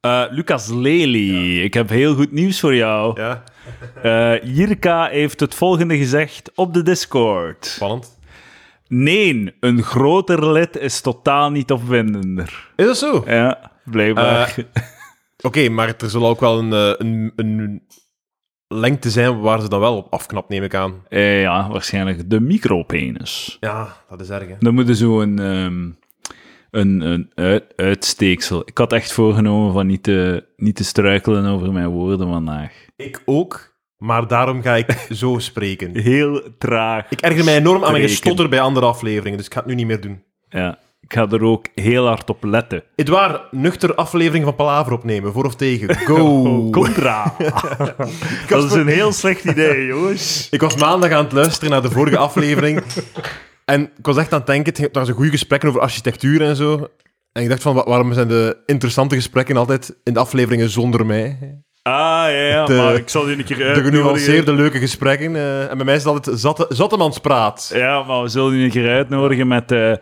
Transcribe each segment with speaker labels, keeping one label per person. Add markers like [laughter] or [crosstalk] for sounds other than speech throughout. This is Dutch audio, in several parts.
Speaker 1: Eh, Lucas Lely, ik heb heel goed nieuws voor jou.
Speaker 2: Ja,
Speaker 1: Eh, Jirka heeft het volgende gezegd op de Discord.
Speaker 2: spannend.
Speaker 1: Nee, een groter lid is totaal niet opwindender.
Speaker 2: Is dat zo? Oké,
Speaker 1: Ja, blijkbaar.
Speaker 2: maar er zal ook wel een, eh, een, een lengte zijn waar ze dan wel op afknapt, neem ik aan.
Speaker 1: Eh, ja, waarschijnlijk de micropenis.
Speaker 2: Ja, dat is erg, hè.
Speaker 1: Dan moeten zo een, ehm, een, een uit- uitsteeksel. Ik had echt voorgenomen van niet te, niet te struikelen over mijn woorden vandaag.
Speaker 2: Ik ook, maar daarom ga ik [laughs] zo spreken.
Speaker 1: Heel traag.
Speaker 2: Ik erger mij enorm aan mijn
Speaker 1: Spreken.
Speaker 2: gestotter bij andere afleveringen, dus ik ga het nu niet meer doen.
Speaker 1: Ja, ik ga er ook heel hard op letten.
Speaker 2: Edouard, nuchter aflevering van Palaver opnemen, voor of tegen. Go! [laughs]
Speaker 1: Contra. Dat is een heel slecht idee, jongens.
Speaker 2: Ik was maandag aan het luisteren naar de vorige aflevering. En ik was echt aan het denken, het ging- het was een goede gesprekken over architectuur en zo. En ik dacht van, wa- waarom zijn de interessante gesprekken altijd in de afleveringen zonder mij?
Speaker 1: Ah, ja, ja
Speaker 2: De-
Speaker 1: maar ik zal je een keer
Speaker 2: De
Speaker 1: uitnodigen.
Speaker 2: genuanceerde, leuke gesprekken. eh, en bij mij is het altijd zatte, zattemanspraat.
Speaker 1: Ja, maar we zullen je een keer uitnodigen met eh,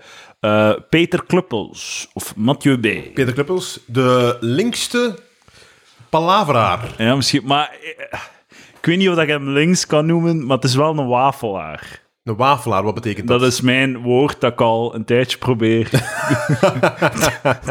Speaker 1: eh, Peter Kluppels of Mathieu B.
Speaker 2: Peter Kluppels, de linkste palaveraar.
Speaker 1: Ja, misschien, maar eh, ik weet niet of ik hem links kan noemen, maar het is wel een wafelaar.
Speaker 2: Een wafelaar, wat betekent dat?
Speaker 1: Dat is mijn woord dat ik al een tijdje probeer [laughs]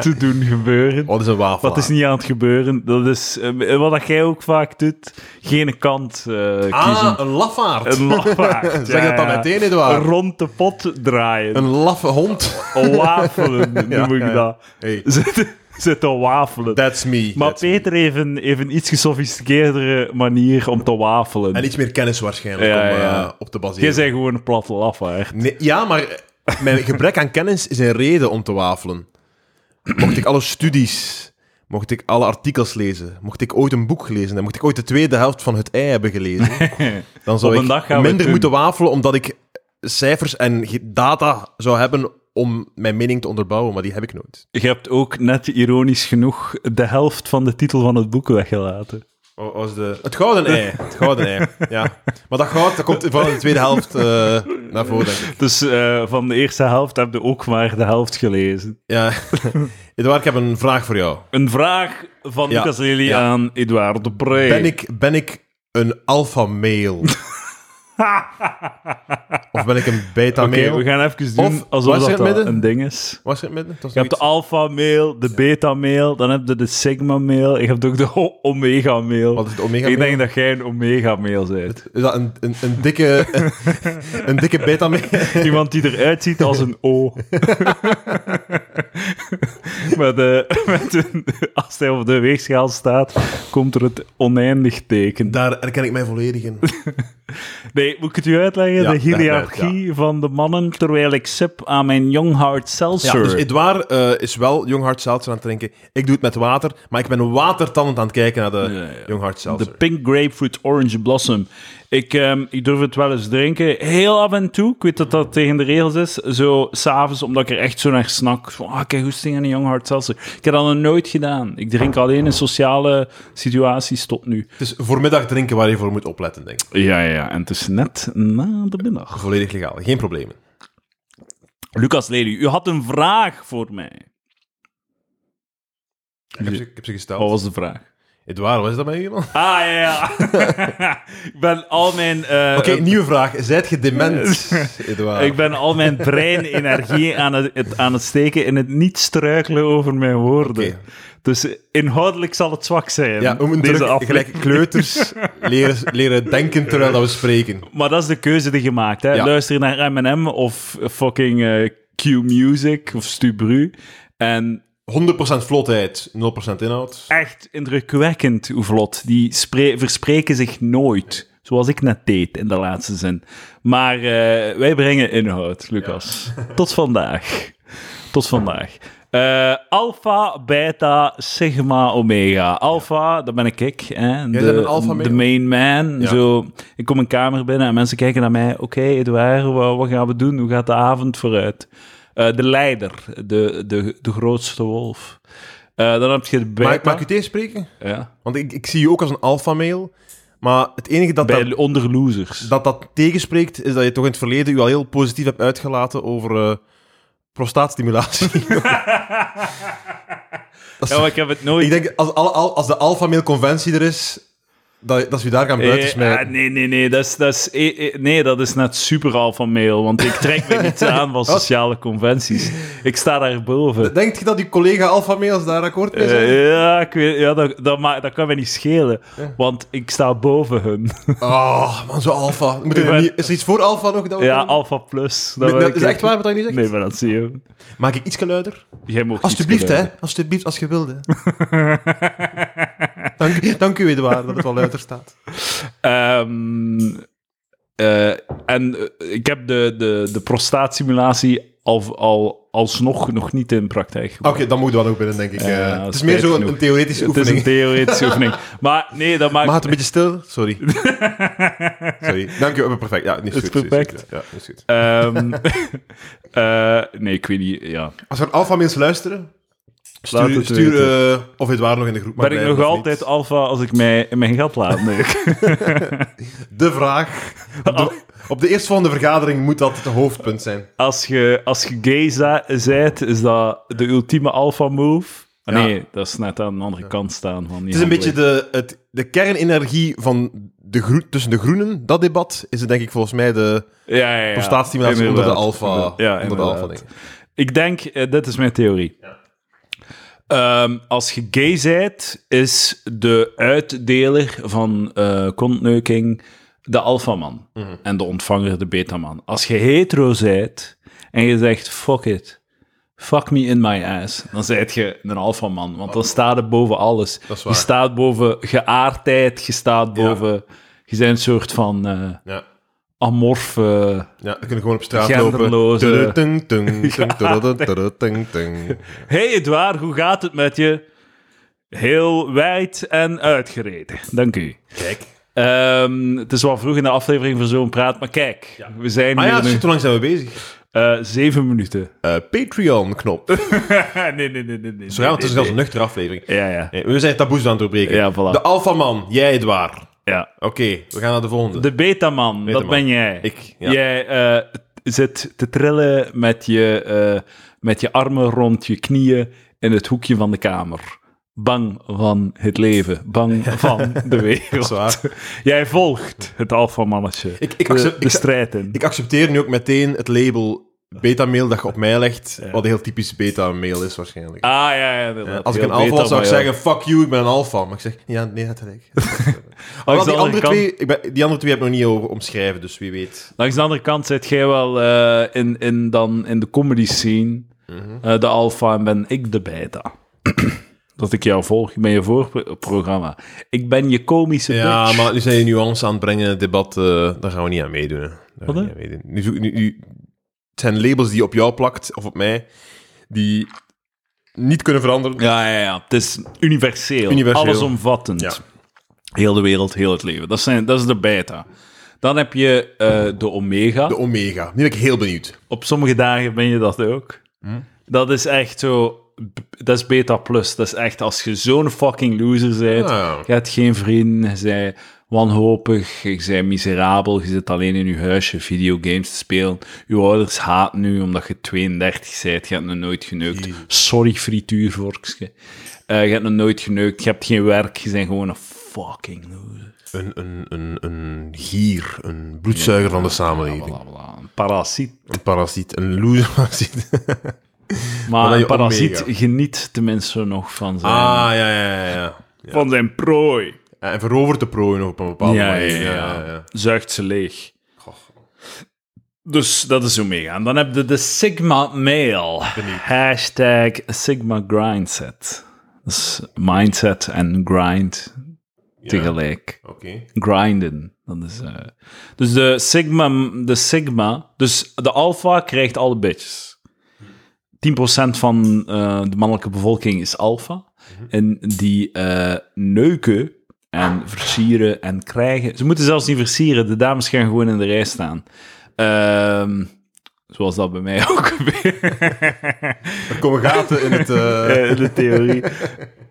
Speaker 1: te doen gebeuren.
Speaker 2: Wat is een wafelaar?
Speaker 1: Dat is niet aan het gebeuren. Dat is eh, wat dat jij ook vaak doet. Geen kant eh, kiezen.
Speaker 2: Ah, een lafaard. [laughs]
Speaker 1: Een lafaard.
Speaker 2: Zeg dat dan meteen, Edouard.
Speaker 1: Rond de pot draaien.
Speaker 2: Een laffe hond.
Speaker 1: Wafelen noem
Speaker 2: [laughs] Ja,
Speaker 1: ik
Speaker 2: ja, ja.
Speaker 1: dat.
Speaker 2: Hey,
Speaker 1: [laughs] Zit, zit te wafelen.
Speaker 2: that's me.
Speaker 1: maar
Speaker 2: That's me.
Speaker 1: Peter heeft een, heeft een iets gesofisticeerdere manier om te wafelen.
Speaker 2: En iets meer kennis waarschijnlijk
Speaker 1: Ja,
Speaker 2: om, eh,
Speaker 1: ja.
Speaker 2: op te baseren.
Speaker 1: Jij bent gewoon een platte lafaard.
Speaker 2: Nee, ja, maar mijn gebrek aan kennis is een reden om te wafelen. Mocht ik alle studies, mocht ik alle artikels lezen, mocht ik ooit een boek gelezen hebben, mocht ik ooit de tweede helft van het ei hebben
Speaker 1: [laughs]
Speaker 2: gelezen, dan zou
Speaker 1: Op een dag
Speaker 2: ik
Speaker 1: gaan we het
Speaker 2: minder
Speaker 1: doen.
Speaker 2: moeten wafelen omdat ik cijfers en ge- data zou hebben om mijn mening te onderbouwen, maar die heb ik nooit.
Speaker 1: Je hebt ook net ironisch genoeg de helft van de titel van het boek weggelaten.
Speaker 2: Wat was de... Het gouden ei. [laughs] Het gouden ei, ja. Maar dat goud dat komt van de tweede helft eh, naar voren, denk ik.
Speaker 1: Dus eh, van de eerste helft heb je ook maar de helft gelezen.
Speaker 2: Ja. [laughs] Eduard, ik heb een vraag voor jou.
Speaker 1: Een vraag van
Speaker 2: Ja,
Speaker 1: Lucas Lely
Speaker 2: ja.
Speaker 1: aan Edouard de Pre.
Speaker 2: Ben ik, ben ik een alpha
Speaker 1: [laughs]
Speaker 2: male? of ben ik een beta
Speaker 1: Oké, we
Speaker 2: male?
Speaker 1: gaan even doen
Speaker 2: Of-
Speaker 1: alsof
Speaker 2: was
Speaker 1: dat,
Speaker 2: er het
Speaker 1: dat
Speaker 2: midden?
Speaker 1: een ding is.
Speaker 2: Was het midden? Het was
Speaker 1: Je hebt de
Speaker 2: zoiets.
Speaker 1: alpha-mail, de beta-mail, dan heb je de sigma-mail, je hebt ook de o- omega-mail.
Speaker 2: Wat is het omega
Speaker 1: Ik
Speaker 2: male?
Speaker 1: denk dat jij een omega-mail
Speaker 2: [laughs]
Speaker 1: bent.
Speaker 2: Is dat een, een, een
Speaker 1: [laughs]
Speaker 2: dikke, een dikke beta male?
Speaker 1: Iemand die eruit ziet als een
Speaker 2: [laughs]
Speaker 1: O. met, eh, met een, als hij op de weegschaal staat, komt er het oneindig teken.
Speaker 2: Daar herken ik mij
Speaker 1: [laughs]
Speaker 2: volledig in.
Speaker 1: Nee, moet ik het u uitleggen?
Speaker 2: Ja,
Speaker 1: de
Speaker 2: leg het uit,
Speaker 1: hiërarchie van de mannen, terwijl ik sip aan mijn young hard
Speaker 2: Ja,
Speaker 1: seltzer.
Speaker 2: dus Edouard eh, is wel Young Hard Seltzer aan het drinken. Ik doe het met water, maar ik ben watertandend aan het kijken naar de Young Hard
Speaker 1: De
Speaker 2: Seltzer.
Speaker 1: Pink Grapefruit Orange Blossom. Ik, ehm, ik durf het wel eens drinken. Heel af en toe. Ik weet dat dat tegen de regels is. Zo s'avonds, omdat ik er echt zo naar snak. Van, ah, kijk, hoesting en een Young Hard Seltzer. Ik heb dat nog nooit gedaan. Ik drink alleen in sociale situaties tot nu.
Speaker 2: Het is voormiddag drinken waar je voor moet opletten, denk ik.
Speaker 1: Ja, ja, ja. En het is net na de middag.
Speaker 2: Volledig legaal, geen problemen.
Speaker 1: Lucas Lely, u had een vraag voor mij.
Speaker 2: Ik heb ze, ik heb ze gesteld.
Speaker 1: Wat was de vraag?
Speaker 2: Edouard, wat is dat bij u, man? Oké,
Speaker 1: Ah, ja, ja. [laughs] ik ben al mijn... eh,
Speaker 2: nieuwe vraag. Zijt je dement,
Speaker 1: [laughs]
Speaker 2: Edouard?
Speaker 1: Ik ben al mijn breinenergie aan het, het- aan het steken in het niet struikelen over mijn woorden.
Speaker 2: Oké.
Speaker 1: Dus eh, inhoudelijk zal het zwak zijn.
Speaker 2: Ja, we moeten
Speaker 1: deze
Speaker 2: terug
Speaker 1: aflevering.
Speaker 2: gelijk [laughs] kleuters leren, leren denken terwijl dat we spreken.
Speaker 1: Maar dat is de keuze die je maakt. Hè?
Speaker 2: Ja.
Speaker 1: Luister naar M&M of fucking eh, Q Music of Stubru. En
Speaker 2: 100% vlotheid, 0% inhoud.
Speaker 1: echt indrukwekkend hoe vlot. Die spre- verspreken zich nooit. Zoals ik net deed in de laatste zin. Maar eh, wij brengen inhoud, Lucas.
Speaker 2: [laughs]
Speaker 1: Tot vandaag. Tot vandaag. Eh alpha, beta, sigma, omega. Alpha, dat ben ik ik. Hè?
Speaker 2: bent een alpha male.
Speaker 1: de main man.
Speaker 2: Ja.
Speaker 1: Zo, ik kom een kamer binnen en mensen kijken naar mij. Oké, Edouard, wat, wat gaan we doen? Hoe gaat de avond vooruit? Eh, de leider, de, de, de grootste wolf. Eh, dan heb je de beta.
Speaker 2: Mag, ik- mag ik u tegenspreken?
Speaker 1: Ja.
Speaker 2: Want ik, ik zie je ook als een alfameel. Maar het enige dat
Speaker 1: Bij
Speaker 2: dat,
Speaker 1: onder losers.
Speaker 2: dat dat tegenspreekt, is dat je toch in het verleden u al heel positief hebt uitgelaten over eh, [laughs] prostaatstimulatie. Dat is-
Speaker 1: Ja, maar ik heb het nooit...
Speaker 2: ik denk, als, alle- al- als de alpha-mail-conventie er is, dat, dat ze je daar gaan buiten
Speaker 1: Eh,
Speaker 2: smijten.
Speaker 1: ah, nee, nee, nee. Dat is, dat is, eh, eh, nee, dat is net super alpha mail. Want ik trek me
Speaker 2: [laughs]
Speaker 1: niet aan van sociale conventies. Ik sta daarboven.
Speaker 2: Denk je dat die collega alpha-mails daar akkoord mee zijn?
Speaker 1: Eh, ja, ik weet, ja dat, dat, ma- dat kan mij niet schelen. Want ik sta boven
Speaker 2: [laughs]
Speaker 1: hun.
Speaker 2: Oh, man, zo alpha. Moet je
Speaker 1: Ik ben-
Speaker 2: niet- Is er iets voor alpha nog? Dat we
Speaker 1: Ja,
Speaker 2: doen?
Speaker 1: [laughs] alpha plus.
Speaker 2: Nee,
Speaker 1: wil
Speaker 2: dat
Speaker 1: ik
Speaker 2: is
Speaker 1: echt-
Speaker 2: echt waar wat je nu zegt?
Speaker 1: Nee, maar dat zie je.
Speaker 2: Maak ik iets luider?
Speaker 1: Jij mag
Speaker 2: Alsjeblieft, hè. Alsjeblieft, als
Speaker 1: [laughs]
Speaker 2: je wilde. dank, dank u, Edouard, dat het wel luider staat.
Speaker 1: Ehm, eh, en eh, ik heb de, de, de prostaatsimulatie al, al, alsnog nog niet in praktijk
Speaker 2: Oké,
Speaker 1: gebracht.
Speaker 2: dan moet dat ook binnen, denk ik.
Speaker 1: Ja,
Speaker 2: eh.
Speaker 1: dat
Speaker 2: het
Speaker 1: is
Speaker 2: is meer
Speaker 1: spijtig
Speaker 2: zo'n
Speaker 1: genoeg.
Speaker 2: een theoretische
Speaker 1: Het is
Speaker 2: oefening.
Speaker 1: een theoretische
Speaker 2: [laughs]
Speaker 1: oefening. Maar nee, dat maakt...
Speaker 2: Maar het een beetje stil? Sorry.
Speaker 1: [laughs]
Speaker 2: Sorry. Dank u, perfect. Ja, niet
Speaker 1: Het is
Speaker 2: goed. is
Speaker 1: perfect.
Speaker 2: goed. Ja, is goed.
Speaker 1: Ehm, [laughs] eh, nee, ik weet niet. Ja.
Speaker 2: Als er alpha mensen luisteren,
Speaker 1: Laat
Speaker 2: stuur,
Speaker 1: het
Speaker 2: stuur
Speaker 1: weten.
Speaker 2: eh, of Edouard nog in de groep mag
Speaker 1: ben ik
Speaker 2: blijven
Speaker 1: nog
Speaker 2: of
Speaker 1: altijd
Speaker 2: niet.
Speaker 1: alfa als ik mij in mijn gat laat?
Speaker 2: [laughs]
Speaker 1: Nee.
Speaker 2: De
Speaker 1: [laughs]
Speaker 2: vraag. Op de, op de eerstvolgende vergadering moet dat het hoofdpunt zijn.
Speaker 1: als, je, als je gay za- zijt, is dat de ultieme alfa move. Ah,
Speaker 2: Ja.
Speaker 1: Nee, dat is net aan de andere kant staan. Van
Speaker 2: Het is een beetje de, het, de kernenergie van de groen, tussen de groenen, dat debat, is het denk ik volgens mij de
Speaker 1: ja, ja, ja.
Speaker 2: prostaatstimulatie onder de
Speaker 1: Inderdaad.
Speaker 2: alfa.
Speaker 1: Ja,
Speaker 2: onder de alfa
Speaker 1: inderdaad.
Speaker 2: ding.
Speaker 1: Ik denk, eh, dit is mijn theorie. Ehm, als je gay zijt, is de uitdeler van eh kontneuking de alfaman.
Speaker 2: Mhm.
Speaker 1: En de ontvanger de betaman. Als je hetero zijt en je zegt, fuck it, fuck me in my ass, dan zijt je een alfaman. Want dan staat er boven alles.
Speaker 2: Dat is
Speaker 1: Je
Speaker 2: waar.
Speaker 1: staat boven geaardheid, je staat boven... Je bent een soort van eh
Speaker 2: Ja.
Speaker 1: amorfe...
Speaker 2: Ja, dan kunnen we gewoon op straat
Speaker 1: Genderloze-
Speaker 2: lopen. Tudung,
Speaker 1: [laughs]
Speaker 2: tudung, tudung, tudung, tudung, tudung, tudung.
Speaker 1: Hey Edouard, hoe gaat het met je? Heel wijd en uitgereden. Dank u.
Speaker 2: Kijk.
Speaker 1: Ehm, het is wel vroeg in de aflevering voor zo'n praat, maar kijk, we zijn
Speaker 2: Ah
Speaker 1: hier
Speaker 2: ja,
Speaker 1: nu
Speaker 2: shit, hoe lang zijn we bezig?
Speaker 1: eh, zeven minuten.
Speaker 2: Eh, Patreon-knop. [laughs]
Speaker 1: [laughs]
Speaker 2: Zo
Speaker 1: nee, nee, nee, nee. nee
Speaker 2: gaan we, het is zelfs
Speaker 1: nee,
Speaker 2: een nuchtere aflevering.
Speaker 1: nee. Ja, ja.
Speaker 2: Nee, we zijn taboes aan het doorbreken.
Speaker 1: Ja, voilà.
Speaker 2: De alfaman, jij Edouard. Oké,
Speaker 1: ja.
Speaker 2: we gaan naar de volgende.
Speaker 1: De betaman, dat
Speaker 2: Betaman.
Speaker 1: ben jij.
Speaker 2: Ik, ja.
Speaker 1: Jij eh, zit te trillen met je, eh, met je armen rond je knieën in het hoekje van de kamer. Bang van het leven,
Speaker 2: [laughs]
Speaker 1: bang van de wereld.
Speaker 2: Zwaar.
Speaker 1: [laughs] Jij volgt het alfamannetje.
Speaker 2: Ik, ik,
Speaker 1: de,
Speaker 2: accep-
Speaker 1: de
Speaker 2: ik,
Speaker 1: strijd in.
Speaker 2: ik accepteer nu ook meteen het label beta-mail dat je op mij legt, wat heel typisch beta-mail is waarschijnlijk.
Speaker 1: ah, ja, ja. inderdaad.
Speaker 2: Als ik
Speaker 1: Heel
Speaker 2: een alfa
Speaker 1: beta,
Speaker 2: was, zou ik
Speaker 1: maar ja.
Speaker 2: zeggen, fuck you, ik ben een alfa. Maar ik zeg, ja, nee, dat gelijk.
Speaker 1: Langs
Speaker 2: Alhoewel,
Speaker 1: de andere
Speaker 2: die, andere
Speaker 1: kant-
Speaker 2: twee, ik ben, die andere twee heb ik nog niet over omschrijven, dus wie weet.
Speaker 1: Langs de andere kant zit jij wel eh, in, in, dan in de comedy scene,
Speaker 2: Mhm.
Speaker 1: eh, de alfa, en ben ik de beta. [clears throat] Dat ik jou volg, ik ben je voorprogramma. Ik ben je komische
Speaker 2: Ja,
Speaker 1: bitch.
Speaker 2: maar nu zijn je nuance aan het brengen in het debat, eh, daar gaan we niet aan meedoen. hè. Daar gaan we
Speaker 1: Wat, hè?
Speaker 2: niet aan meedoen. Nu, zoek- nu, nu- het zijn labels die je op jou plakt, of op mij, die niet kunnen veranderen.
Speaker 1: Ja, ja, ja. Het is universeel.
Speaker 2: Universeel.
Speaker 1: Allesomvattend.
Speaker 2: Ja.
Speaker 1: Heel de wereld, heel het leven. Dat, zijn, dat is de beta. Dan heb je eh, de omega.
Speaker 2: De omega. Nu ben ik heel benieuwd.
Speaker 1: Op sommige dagen ben je dat ook.
Speaker 2: Hm?
Speaker 1: Dat is echt zo... b- Dat is beta plus. Dat is echt als je zo'n fucking loser bent.
Speaker 2: Ah.
Speaker 1: Je hebt geen vrienden. Je bent wanhopig. Je bent miserabel. Je zit alleen in je huisje videogames te spelen. Je ouders haten nu omdat je 32 bent. Je hebt nog nooit geneukt. Sorry, frituurvorkje. Eh, je hebt nog nooit geneukt. Je hebt geen werk. Je bent gewoon een fucking loser.
Speaker 2: Een, een, een, een gier, een bloedzuiger van de samenleving.
Speaker 1: Bla, bla, Een parasiet.
Speaker 2: Een parasiet, een loser [laughs] parasiet.
Speaker 1: Maar
Speaker 2: dan
Speaker 1: een
Speaker 2: je
Speaker 1: parasiet
Speaker 2: omega.
Speaker 1: geniet tenminste nog van zijn...
Speaker 2: Ah, ja, ja, ja, ja. ja. Oh,
Speaker 1: Van zijn prooi.
Speaker 2: En verovert de prooien op een bepaalde
Speaker 1: Ja, ja,
Speaker 2: manier.
Speaker 1: ja, Zuigt ze leeg. Dus dat is Omega. En dan heb je de Sigma Mail. Hashtag Sigma Grindset. Dus mindset en grind tegelijk.
Speaker 2: Oké.
Speaker 1: Grinden. Dat is, eh, dus de Sigma, de Sigma, dus de Alpha krijgt alle bitches. 10% van eh, de mannelijke bevolking is alfa.
Speaker 2: Mhm.
Speaker 1: En die eh, neuken en versieren en krijgen. Ze moeten zelfs niet versieren, de dames gaan gewoon in de rij staan. Ehm, zoals dat bij mij [laughs] ook gebeurt
Speaker 2: Er komen gaten in
Speaker 1: [laughs]
Speaker 2: het... eh,
Speaker 1: eh, in de theorie.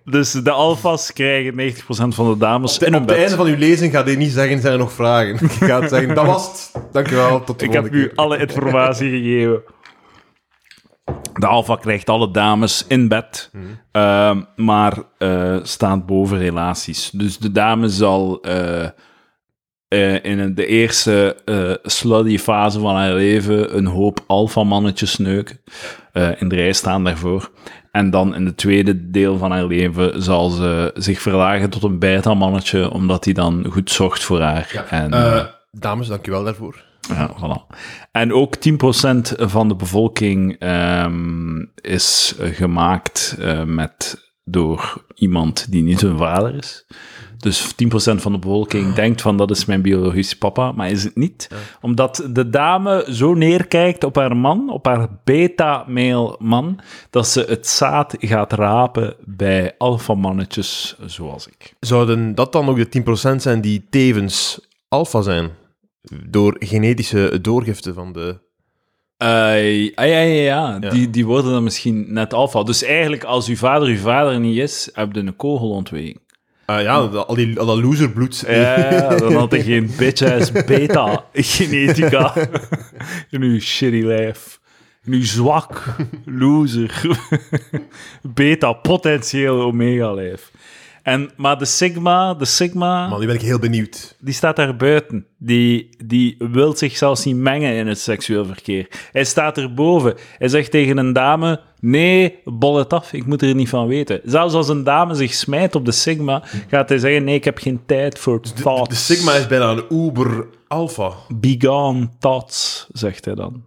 Speaker 1: Dus de alfas krijgen 90% van de dames in
Speaker 2: En
Speaker 1: hun
Speaker 2: op het
Speaker 1: bed.
Speaker 2: einde van uw lezing gaat hij niet zeggen, zijn er nog vragen? [laughs] Je gaat zeggen, dat was het. Dankjewel, tot de
Speaker 1: Ik heb
Speaker 2: volgende
Speaker 1: u
Speaker 2: keer.
Speaker 1: alle informatie gegeven. De Alfa krijgt alle dames in bed, ehm, maar eh, staat boven relaties. Dus de dame zal eh, eh, in de eerste eh slutty fase van haar leven een hoop alfamannetjes neuken. eh, in de rij staan daarvoor. En dan in het tweede deel van haar leven zal ze zich verlagen tot een beta-mannetje, omdat die dan goed zorgt voor haar. En,
Speaker 2: Eh dames, dankjewel daarvoor.
Speaker 1: ja, voilà. En ook 10% van de bevolking ehm, is eh, gemaakt eh, met, door iemand die niet hun vader is. Dus 10% van de bevolking denkt van dat is mijn biologische papa, maar is het niet. Omdat de dame zo neerkijkt op haar man, op haar beta-mail man, dat ze het zaad gaat rapen bij alfamannetjes zoals ik.
Speaker 2: Zouden dat dan ook de 10% zijn die tevens alfa zijn? Door genetische doorgifte van de...
Speaker 1: Eh, ah, ja, ja, ja.
Speaker 2: Ja.
Speaker 1: Die, die worden dan misschien net alfa. Dus eigenlijk, als uw vader uw vader niet is, heb je een kogelontwikkeling.
Speaker 2: Ah ja, dat- al, die, al dat loserbloed. Eh,
Speaker 1: Ja, [laughs] dan had je geen bitch-ass [laughs] beta-genetica [laughs] in uw shitty lijf. In uw zwak, loser, [laughs] beta-potentieel omega-lijf. En, maar de sigma, de sigma...
Speaker 2: Man, nu ben ik heel benieuwd.
Speaker 1: die staat daar buiten. Die, die wil zich zelfs niet mengen in het seksueel verkeer. Hij staat erboven. Hij zegt tegen een dame: Nee, bol het af, ik moet er niet van weten. Zelfs als een dame zich smijt op de Sigma, gaat hij zeggen: Nee, ik heb geen tijd voor
Speaker 2: Dus De,
Speaker 1: thoughts.
Speaker 2: de sigma is bijna een uber-alpha.
Speaker 1: Begone thoughts, zegt hij dan.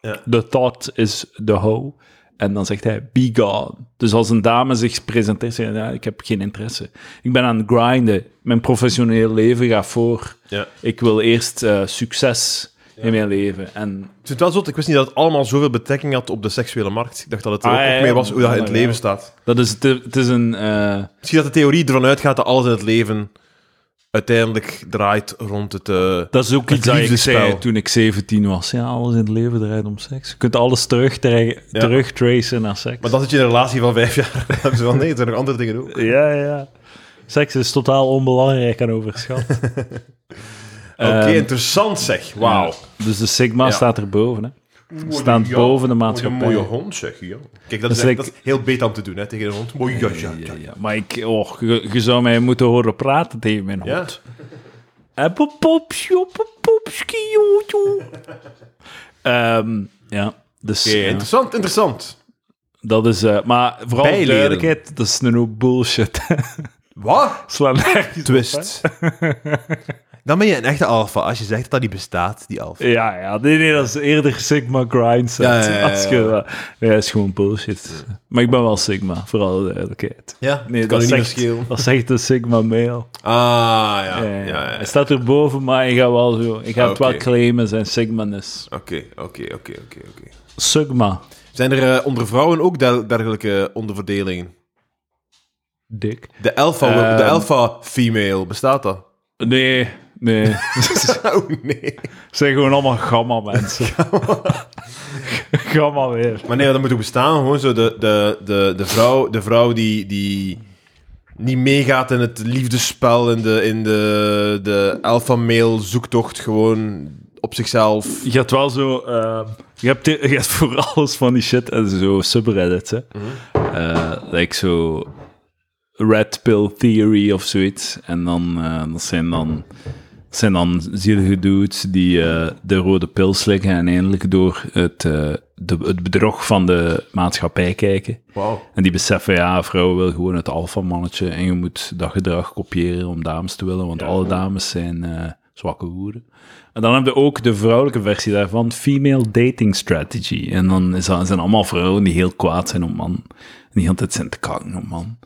Speaker 2: Ja.
Speaker 1: De thought is de hoe. En dan zegt hij, be gone. Dus als een dame zich presenteert, zegt hij, ja, ik heb geen interesse. Ik ben aan het grinden. Mijn professioneel leven gaat voor.
Speaker 2: Ja.
Speaker 1: Ik wil eerst eh, succes in mijn leven. En
Speaker 2: Ik vind het wel zot, ik wist niet dat het allemaal zoveel betrekking had op de seksuele markt. Ik dacht dat het er
Speaker 1: Ah,
Speaker 2: ook,
Speaker 1: ja,
Speaker 2: ook
Speaker 1: ja.
Speaker 2: mee was hoe dat in het
Speaker 1: Ja,
Speaker 2: leven
Speaker 1: ja.
Speaker 2: staat.
Speaker 1: dat is, het, het is een... eh,
Speaker 2: Misschien dat de theorie ervan uitgaat dat alles in het leven uiteindelijk draait rond het... eh,
Speaker 1: dat is ook
Speaker 2: Het
Speaker 1: iets dat ik
Speaker 2: liefdespel.
Speaker 1: zei toen ik 17 was. Ja, alles in het leven draait om seks. Je kunt alles terug,
Speaker 2: Ja.
Speaker 1: terugtracen naar seks.
Speaker 2: Maar dan zit je in een relatie van vijf jaar. [laughs] Dan hebben ze van, nee, er zijn nog andere dingen ook.
Speaker 1: Ja, ja. Seks is totaal onbelangrijk en overschat.
Speaker 2: Oké, interessant zeg. [laughs] Wauw.
Speaker 1: Dus de Sigma
Speaker 2: Ja.
Speaker 1: staat erboven. Hè. Staan
Speaker 2: Ja,
Speaker 1: boven de
Speaker 2: mooie-
Speaker 1: maatschappij.
Speaker 2: Mooie hond zeg, ja. Kijk, dat is,
Speaker 1: is
Speaker 2: echt-
Speaker 1: like-
Speaker 2: dat is heel beter om te doen, hè, tegen een hond. Mooi, ja, ja, ja.
Speaker 1: Ja, maar ik, oh, je, je zou mij moeten horen praten tegen mijn
Speaker 2: Ja.
Speaker 1: hond. Appelpopsje, appelpopski, jojo.
Speaker 2: [laughs]
Speaker 1: Ehm, ja, dus
Speaker 2: Oké,
Speaker 1: ja,
Speaker 2: interessant, interessant.
Speaker 1: dat is... eh, maar vooral
Speaker 2: Bijleren.
Speaker 1: duidelijkheid, dat is een hoop bullshit. [laughs]
Speaker 2: Wat? [laughs]
Speaker 1: Sla nergens op, hè.
Speaker 2: Twist. [laughs] Dan ben je een echte alfa als je zegt dat dat niet bestaat, die alfa.
Speaker 1: Ja, ja. Nee, nee, dat is eerder Sigma Grindset.
Speaker 2: Ja, ja, ja, ja.
Speaker 1: Als je- nee, dat is gewoon bullshit. Maar ik ben wel Sigma, voor alle duidelijkheid.
Speaker 2: Ja,
Speaker 1: Nee,
Speaker 2: kan
Speaker 1: dat
Speaker 2: je niet meer
Speaker 1: zegt,
Speaker 2: schelen.
Speaker 1: dat zegt de Sigma male.
Speaker 2: Ah, ja.
Speaker 1: Ja, ja,
Speaker 2: ja, ja. Ah,
Speaker 1: Hij staat erboven, maar ik ga wel zo. Ik ga het wel
Speaker 2: Oké.
Speaker 1: claimen, zijn Sigma is.
Speaker 2: Oké, oké, oké, oké, oké.
Speaker 1: Sigma,
Speaker 2: Zijn er eh, onder vrouwen ook der- dergelijke onderverdelingen?
Speaker 1: dik.
Speaker 2: De alpha, de
Speaker 1: Ehm.
Speaker 2: alpha female, bestaat dat? [laughs]
Speaker 1: Nee, nee. Ze
Speaker 2: Oh nee.
Speaker 1: zijn gewoon allemaal gamma mensen. gamma weer.
Speaker 2: Maar nee, dat moet ook bestaan. Gewoon zo de, de, de, de vrouw, de vrouw die, die niet meegaat in het liefdespel, in de, in de, de alpha male zoektocht, gewoon op zichzelf.
Speaker 1: Je hebt wel zo. ehm, je, hebt, je hebt voor alles van die shit en zo subreddits. Hè. Eh, like zo. Red Pill Theory of zoiets. En dan, eh, dat zijn dan. dat zijn dan zielige dudes die eh, de rode pil slikken en eindelijk door het, eh, de, het bedrog van de maatschappij kijken.
Speaker 2: Wauw.
Speaker 1: En die beseffen, ja, vrouwen wil gewoon het alfamannetje en je moet dat gedrag kopiëren om dames te willen, want alle dames zijn eh, zwakke hoeren. En dan heb je ook de vrouwelijke versie daarvan, female dating strategy. En dan is dat, zijn allemaal vrouwen die heel kwaad zijn op man, en die altijd zijn te kakken op man.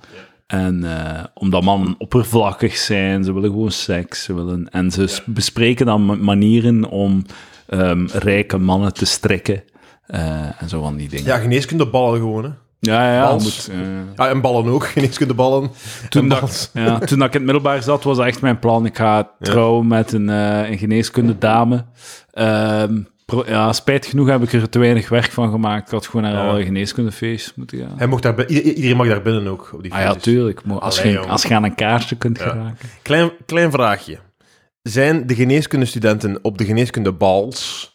Speaker 1: En eh, omdat mannen oppervlakkig zijn, ze willen gewoon seks. Ze willen, en ze s- bespreken dan ma- manieren om ehm, rijke mannen te strikken. eh, en zo van die dingen.
Speaker 2: Ja, geneeskundeballen gewoon, hè.
Speaker 1: ja, ja,
Speaker 2: Bals.
Speaker 1: moet, eh,
Speaker 2: Ja, en ballen ook, [laughs] geneeskundeballen.
Speaker 1: toen,
Speaker 2: En
Speaker 1: dat,
Speaker 2: bals.
Speaker 1: ja, [laughs] toen dat ik in het middelbaar zat, was dat echt mijn plan. Ik ga trouwen met een, eh een geneeskundedame. Ehm, pro- ja, spijt genoeg heb ik er te weinig werk van gemaakt. Ik had gewoon naar alle geneeskundefeestjes moeten gaan.
Speaker 2: Hij mocht daar, bi- ieder- iedereen mag daar binnen ook, op die
Speaker 1: Ah ja,
Speaker 2: feestjes.
Speaker 1: tuurlijk. Maar als,
Speaker 2: Allee,
Speaker 1: je,
Speaker 2: jong.
Speaker 1: als je aan een kaartje kunt geraken.
Speaker 2: Klein, klein vraagje. Zijn de geneeskundestudenten op de geneeskundebals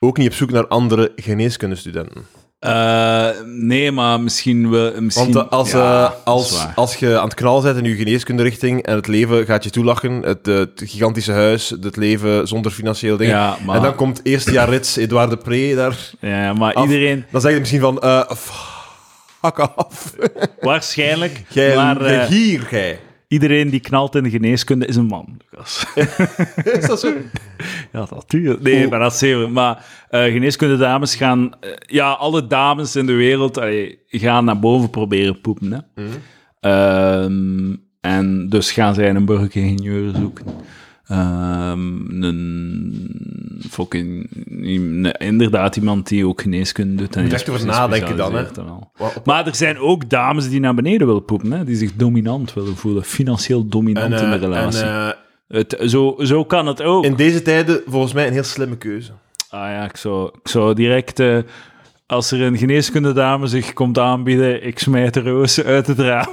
Speaker 2: ook niet op zoek naar andere geneeskundestudenten?
Speaker 1: Eh, nee, maar misschien wel... Misschien,
Speaker 2: Want eh, als,
Speaker 1: ja,
Speaker 2: eh,
Speaker 1: dat is
Speaker 2: als,
Speaker 1: waar.
Speaker 2: als je aan het knallen bent in je geneeskunderichting en het leven gaat je toelachen, het, eh, het gigantische huis, het leven zonder financiële dingen.
Speaker 1: Ja, maar,
Speaker 2: En dan komt eerste jaar rits Edouard de Pre daar.
Speaker 1: ja, maar
Speaker 2: af.
Speaker 1: iedereen...
Speaker 2: Dan zeg je misschien van, eh fuck af.
Speaker 1: Waarschijnlijk.
Speaker 2: Jij,
Speaker 1: maar eh,
Speaker 2: jij hier, gij.
Speaker 1: iedereen die knalt in de geneeskunde is een man, Lucas.
Speaker 2: Is dat zo?
Speaker 1: Ja, natuurlijk. Nee,
Speaker 2: Hoe-
Speaker 1: maar dat is zeker. Maar eh geneeskunde dames gaan... eh, ja, alle dames in de wereld allee, gaan naar boven proberen poepen. Hè?
Speaker 2: Mhm.
Speaker 1: Ehm, en dus gaan zij een burgeringenieur zoeken. Ehm, een fucking... een- inderdaad, iemand die ook geneeskunde doet. en
Speaker 2: Moet
Speaker 1: is
Speaker 2: echt over
Speaker 1: precies
Speaker 2: nadenken dan, hè.
Speaker 1: gespecialiseerd en al.
Speaker 2: Wat- op-
Speaker 1: Maar er zijn ook dames die naar beneden willen poepen, hè? die zich dominant willen voelen. Financieel dominant
Speaker 2: En, eh,
Speaker 1: in de relatie.
Speaker 2: en, eh,
Speaker 1: Het, zo, zo kan het ook.
Speaker 2: in deze tijden volgens mij een heel slimme keuze.
Speaker 1: Ah ja, ik zou, ik zou direct... eh, als er een geneeskundedame zich komt aanbieden, ik smijt de roos uit het raam.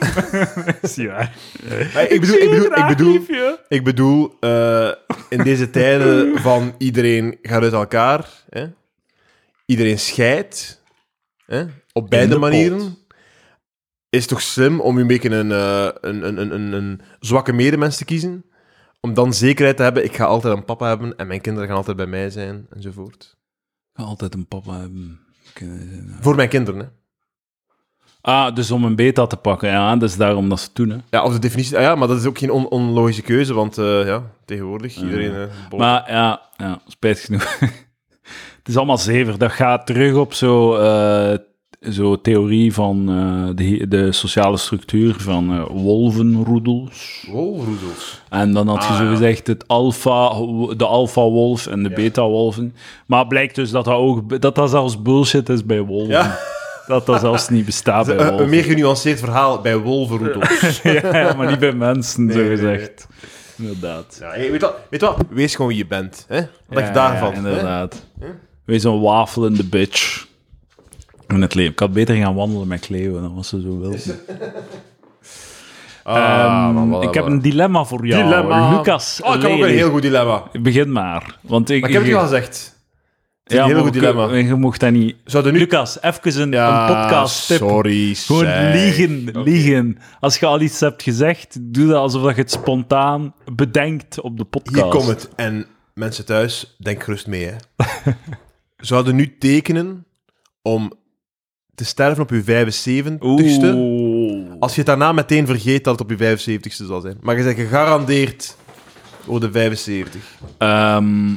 Speaker 1: [laughs] Is niet waar.
Speaker 2: Maar ik bedoel, ik
Speaker 1: Zie je,
Speaker 2: bedoel, ik
Speaker 1: raar
Speaker 2: bedoel,
Speaker 1: liefje.
Speaker 2: ik bedoel eh, in deze tijden van iedereen gaat uit elkaar, hè? iedereen scheidt, hè? op beide
Speaker 1: de pot.
Speaker 2: manieren, is het toch slim om een beetje een, eh, een, een, een, een, een zwakke medemens te kiezen? Om dan zekerheid te hebben, ik ga altijd een papa hebben en mijn kinderen gaan altijd bij mij zijn, enzovoort.
Speaker 1: Ik kan altijd een papa hebben. Ik, eh,
Speaker 2: Voor mijn kinderen, hè.
Speaker 1: Ah, dus om een beta te pakken. Ja, dat is daarom dat ze het doen. Hè.
Speaker 2: Ja, of de definitie... Ah ja, maar dat is ook geen on- onlogische keuze, want eh, ja, tegenwoordig, iedereen... eh, bol-
Speaker 1: Maar ja, ja spijt genoeg. [laughs] het is allemaal zever. Dat gaat terug op zo... eh, zo theorie van eh, de, de sociale structuur van eh, wolvenroedels.
Speaker 2: Wolroedels.
Speaker 1: En dan had je
Speaker 2: Ah,
Speaker 1: zo
Speaker 2: ja.
Speaker 1: gezegd het alpha, de alfa-wolf en de beta-wolven. Maar blijkt dus dat dat, ook, dat dat zelfs bullshit is bij wolven.
Speaker 2: Ja.
Speaker 1: Dat dat zelfs niet bestaat bij
Speaker 2: Eh, Een- een,
Speaker 1: wolven.
Speaker 2: meer genuanceerd verhaal bij wolvenroedels.
Speaker 1: [laughs] ja, maar niet bij mensen, zo
Speaker 2: nee, nee.
Speaker 1: gezegd. Inderdaad.
Speaker 2: Ja, hey, weet, wat, weet wat? Wees gewoon wie je bent. Hè? Wat
Speaker 1: Ja,
Speaker 2: je daarvan?
Speaker 1: ja,
Speaker 2: hè?
Speaker 1: inderdaad. Wees een wafelende bitch. In het leven. Ik had beter gaan wandelen met Cleo, dan was ze zo wild.
Speaker 2: Ah, man, wat-
Speaker 1: Ehm, ik heb
Speaker 2: wat-
Speaker 1: een dilemma voor jou,
Speaker 2: dilemma.
Speaker 1: Lucas.
Speaker 2: Oh, ik heb ook een
Speaker 1: Lely.
Speaker 2: heel goed dilemma. Maar
Speaker 1: Begin maar. Want ik,
Speaker 2: ik heb het je al gezegd.
Speaker 1: ja,
Speaker 2: heel
Speaker 1: maar
Speaker 2: goed
Speaker 1: we-
Speaker 2: dilemma.
Speaker 1: Je mocht dat niet
Speaker 2: Zouden nu...
Speaker 1: Lucas, even een,
Speaker 2: Ah,
Speaker 1: een podcast tip.
Speaker 2: Sorry,
Speaker 1: Gewoon
Speaker 2: zeg.
Speaker 1: liegen, liegen. Als je al iets hebt gezegd, doe dat alsof dat je het spontaan bedenkt op de podcast.
Speaker 2: Hier komt het. En mensen thuis, denk gerust mee. Hè. [laughs] Zouden nu tekenen om te sterven op je 75ste...
Speaker 1: Oeh.
Speaker 2: Als je het daarna meteen vergeet dat het op je 75ste zal zijn. Maar je zegt gegarandeerd voor de 75.
Speaker 1: Ehm,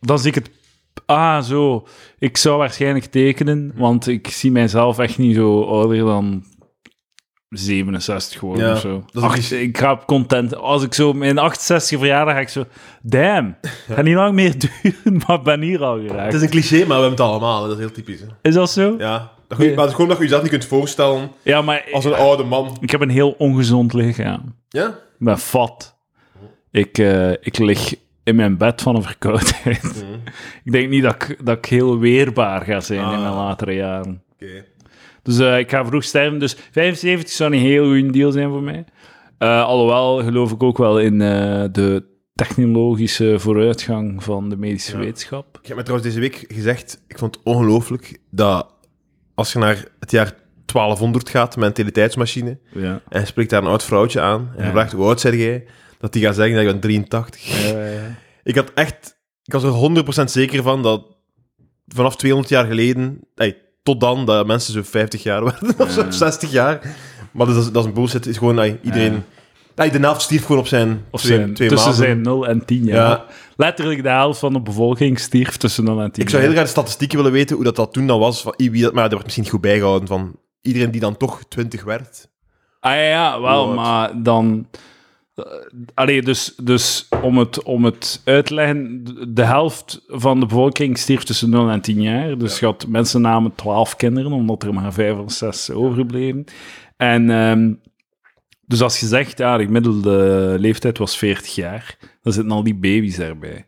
Speaker 1: dan zie ik het... Ah, zo. Ik zou waarschijnlijk tekenen, want ik zie mijzelf echt niet zo ouder dan 67 geworden
Speaker 2: Ja,
Speaker 1: of zo.
Speaker 2: dat is
Speaker 1: Ach,
Speaker 2: ook iets-
Speaker 1: Ik ga op content. Als ik zo mijn 68 verjaardag ga ik zo...
Speaker 2: [laughs]
Speaker 1: Damn, gaat niet lang meer [laughs] duren, maar ben hier al
Speaker 2: Het
Speaker 1: geraakt.
Speaker 2: is een cliché, maar we hebben het allemaal. hè. Dat is heel typisch. Hè.
Speaker 1: Is dat zo?
Speaker 2: Ja. Dat je- Maar het is gewoon dat je jezelf niet kunt voorstellen
Speaker 1: Ja, maar
Speaker 2: als een oude man.
Speaker 1: ik heb een heel ongezond lichaam.
Speaker 2: Ja?
Speaker 1: Ik ben fat. Ik, eh, ik lig in mijn bed van een verkoudheid.
Speaker 2: Mhm.
Speaker 1: ik denk niet dat ik, dat ik heel weerbaar ga zijn in mijn
Speaker 2: Ah.
Speaker 1: latere jaren.
Speaker 2: Oké.
Speaker 1: Dus eh, ik ga vroeg sterven. Dus 75 zou een heel goede deal zijn voor mij. Eh, alhoewel geloof ik ook wel in eh, de technologische vooruitgang van de medische wetenschap.
Speaker 2: Ik heb me trouwens deze week gezegd, ik vond het ongelooflijk dat als je naar het jaar 1200 gaat met een teletijdsmachine
Speaker 1: Ja.
Speaker 2: en je spreekt daar een oud vrouwtje aan en je
Speaker 1: Ja.
Speaker 2: vraagt hoe oud zeg jij, dat die gaat zeggen dat je bent 83.
Speaker 1: Eh,
Speaker 2: Ik had echt, ik was er 100% zeker van dat vanaf 200 jaar geleden, ey, tot dan, dat mensen zo 50 jaar werden [laughs] of zo, 60 jaar. Maar dus dat is, dat is een bullshit. Het is gewoon ey, iedereen. ey, de helft stierf gewoon op zijn
Speaker 1: Of
Speaker 2: twee,
Speaker 1: zijn,
Speaker 2: twee
Speaker 1: tussen
Speaker 2: maanden.
Speaker 1: zijn 0 en 10 jaar.
Speaker 2: Ja.
Speaker 1: Letterlijk de helft van de bevolking stierf tussen 0 en 10
Speaker 2: Ik zou heel
Speaker 1: jaar.
Speaker 2: graag de statistieken willen weten hoe dat, dat toen dan was. Van, wie dat, maar dat wordt misschien niet goed bijgehouden van iedereen die dan toch 20 werd.
Speaker 1: Ah ja, ja, wel,
Speaker 2: Wat?
Speaker 1: maar dan... eh, Allee, dus, dus om, het, om het uit te leggen, de- de helft van de bevolking stierf tussen 0 en 10 jaar. Dus je had- mensen namen 12 kinderen, omdat er maar 5 of 6 overbleven. En ehm, dus als je zegt, ja, de gemiddelde leeftijd was 40 jaar, dan zitten al die baby's daarbij.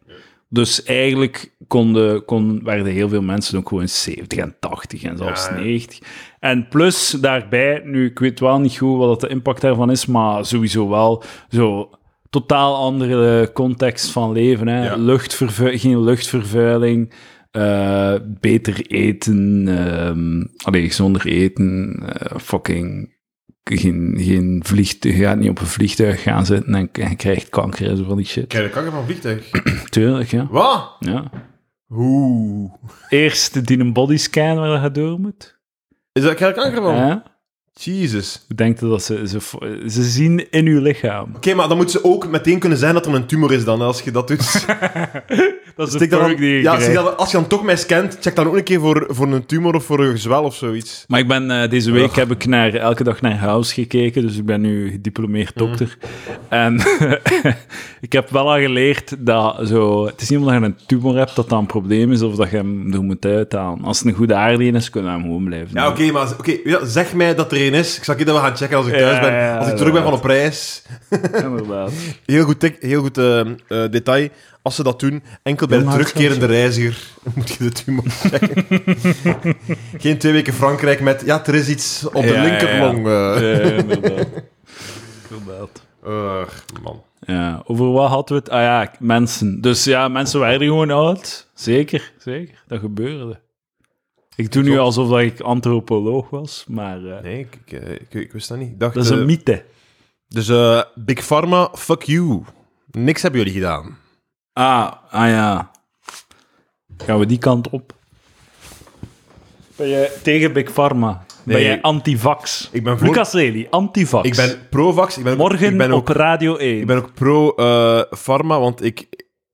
Speaker 1: Dus eigenlijk konden, kon, werden heel veel mensen ook gewoon 70 en 80 en zelfs
Speaker 2: Ja, ja.
Speaker 1: 90. En plus daarbij, nu ik weet wel niet goed wat de impact daarvan is, maar sowieso wel zo totaal andere context van leven. Hè?
Speaker 2: Ja.
Speaker 1: Luchtvervu- geen luchtvervuiling, eh, beter eten, ehm allee, gezonder eten, eh, fucking geen, geen vliegtuig, je gaat niet op een vliegtuig gaan zitten en, en krijgt kanker en zo van die shit.
Speaker 2: Krijg je kanker van een vliegtuig? [clears throat]
Speaker 1: Tuurlijk, ja.
Speaker 2: Wat?
Speaker 1: ja.
Speaker 2: Hoe?
Speaker 1: Eerst die een bodyscan waar je door moet.
Speaker 2: Is dat krijg je kanker van?
Speaker 1: Hè?
Speaker 2: Jezus. Oké,
Speaker 1: Hoe denkt je dat ze, ze, ze zien in uw lichaam?
Speaker 2: maar dan moet ze ook meteen kunnen zijn dat er een tumor is dan, hè, als je dat [laughs] doet.
Speaker 1: Dat is
Speaker 2: Stik dan-
Speaker 1: perk die je
Speaker 2: ja,
Speaker 1: krijgt.
Speaker 2: zeg dan- als je dan toch mij scant, check dan ook een keer voor, voor een tumor of voor een gezwel of zoiets.
Speaker 1: Maar ik ben, eh, deze week heb ik naar, elke dag naar House gekeken, dus ik ben nu gediplomeerd
Speaker 2: Mhm.
Speaker 1: dokter. En [laughs] ik heb wel al geleerd dat zo... Het is niet omdat je een tumor hebt dat dat een probleem is of dat je hem er moet uithalen. Als het een goede aardien is, kunnen we hem gewoon blijven.
Speaker 2: Ja, oké, maar oké, ja, zeg mij dat er een is. Ik zal keer dat we gaan checken als ik
Speaker 1: Ja,
Speaker 2: thuis ben.
Speaker 1: ja,
Speaker 2: als ik
Speaker 1: ja,
Speaker 2: terug ben
Speaker 1: ja.
Speaker 2: van op reis.
Speaker 1: doen,
Speaker 2: [laughs]
Speaker 1: inderdaad.
Speaker 2: Heel goed, tik- heel goed eh, eh, detail. Als ze dat doen, enkel bij de
Speaker 1: Ja, maar het
Speaker 2: terugkerende reiziger [laughs] moet je de tumor checken. [laughs] Geen twee weken Frankrijk met, ja, er is iets op de
Speaker 1: Ja, ja, ja.
Speaker 2: linkerlong. eh.
Speaker 1: Ja, inderdaad. Inderdaad.
Speaker 2: Eh, man.
Speaker 1: Ja, over wat hadden we het? Ah ja, mensen. Dus ja, mensen waren gewoon oud. Zeker, zeker. Dat gebeurde. Ik doe nu
Speaker 2: Klopt.
Speaker 1: alsof dat ik antropoloog was, maar... eh,
Speaker 2: Nee, ik, ik, eh, ik, ik wist dat niet. Ik dacht,
Speaker 1: Dat is een
Speaker 2: eh,
Speaker 1: mythe.
Speaker 2: Dus eh, Big Pharma, fuck you. Niks hebben jullie gedaan.
Speaker 1: Ah, ah ja. Gaan we die kant op? Ben jij tegen Big Pharma? Ben
Speaker 2: Nee.
Speaker 1: jij anti-vax?
Speaker 2: Ik ben voor-
Speaker 1: Lucas Lely, anti-vax.
Speaker 2: Ik ben pro-vax. Ik ben, ook-
Speaker 1: Morgen
Speaker 2: ik ben ook,
Speaker 1: op Radio 1.
Speaker 2: Ik ben ook pro-pharma, want ik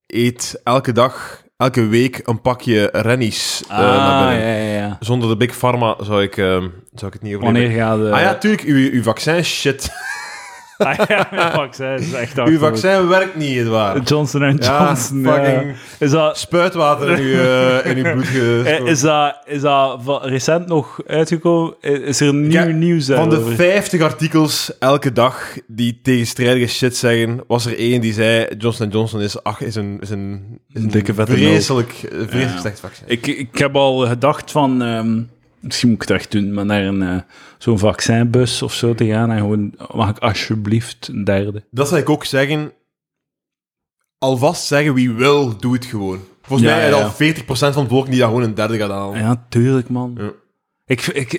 Speaker 2: eet elke dag, elke week een pakje Rennies. eh,
Speaker 1: ah,
Speaker 2: naar binnen.
Speaker 1: ja, ja, ja.
Speaker 2: Zonder de Big Pharma zou ik, ehm, zou ik het niet
Speaker 1: Wanneer
Speaker 2: overleven.
Speaker 1: gaat... eh,
Speaker 2: Ah ja, tuurlijk, uw, uw vaccin shit.
Speaker 1: [laughs] ah ja, mijn vaccin is echt
Speaker 2: Uw
Speaker 1: achterlijk.
Speaker 2: vaccin werkt niet,
Speaker 1: [laughs]
Speaker 2: Edouard.
Speaker 1: Johnson
Speaker 2: Ja,
Speaker 1: Johnson. ja.
Speaker 2: fucking
Speaker 1: Is dat...
Speaker 2: spuitwater in uw, eh, in uw
Speaker 1: [laughs]
Speaker 2: bloed
Speaker 1: eh,
Speaker 2: gestoken.
Speaker 1: Is dat, is dat va- recent nog uitgekomen? Eh, Is er nieuw
Speaker 2: Ja,
Speaker 1: nieuws
Speaker 2: Van de
Speaker 1: daarover?
Speaker 2: 50 artikels elke dag die tegenstrijdige shit zeggen, was er één die zei: Johnson Johnson is, ach, is een, is een, is een
Speaker 1: Dikke vette
Speaker 2: vreselijk, eh, vreselijk slecht vaccin.
Speaker 1: Ik, ik heb al gedacht van, ehm, misschien moet ik het echt doen, maar naar een, eh, zo'n vaccinbus of zo te gaan en gewoon, mag ik alsjeblieft een derde?
Speaker 2: Dat zou ik ook zeggen. Alvast zeggen wie wil, doe het gewoon. Volgens
Speaker 1: Ja,
Speaker 2: mij
Speaker 1: ja,
Speaker 2: is
Speaker 1: ja.
Speaker 2: al 40% van de bevolking die dat gewoon een derde gaat halen.
Speaker 1: Ah Ja, tuurlijk, man.
Speaker 2: Ja.
Speaker 1: Ik, ik,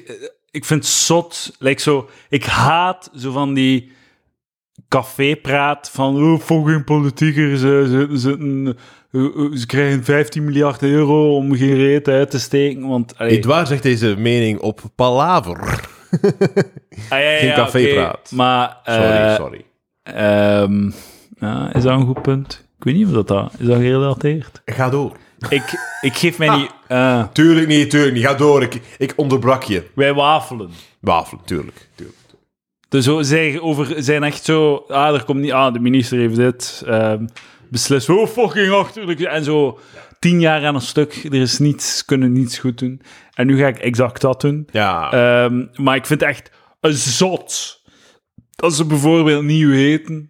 Speaker 1: ik vind het zot, like zo, ik haat zo van die cafépraat van, oh, fucking politiekers, ze, ze, ze, eh, ze krijgen 15 miljard euro om geen reet uit te steken, want... allee,
Speaker 2: Edouard zegt deze mening op Palaver.
Speaker 1: ah, ja, ja,
Speaker 2: geen
Speaker 1: ja,
Speaker 2: cafépraat.
Speaker 1: oké, maar... eh,
Speaker 2: Sorry, sorry.
Speaker 1: Ehm, ja, is dat een goed punt? Ik weet niet of dat dat... Is dat gerelateerd?
Speaker 2: Ga door.
Speaker 1: Ik, ik geef mij niet... eh,
Speaker 2: Tuurlijk niet, tuurlijk niet. Ga door. Ik, ik onderbrak je.
Speaker 1: wij wafelen.
Speaker 2: Wafelen, tuurlijk. tuurlijk.
Speaker 1: Dus zo, zij over, zijn echt zo... Ah, er komt niet... Ah, de minister heeft dit. ehm beslist. Oh, fucking achterlijk. En zo tien jaar aan een stuk. Er is niets. Kunnen niets goed doen. En nu ga ik exact dat doen.
Speaker 2: Ja.
Speaker 1: Ehm, maar ik vind het echt een zot dat ze bijvoorbeeld niet weten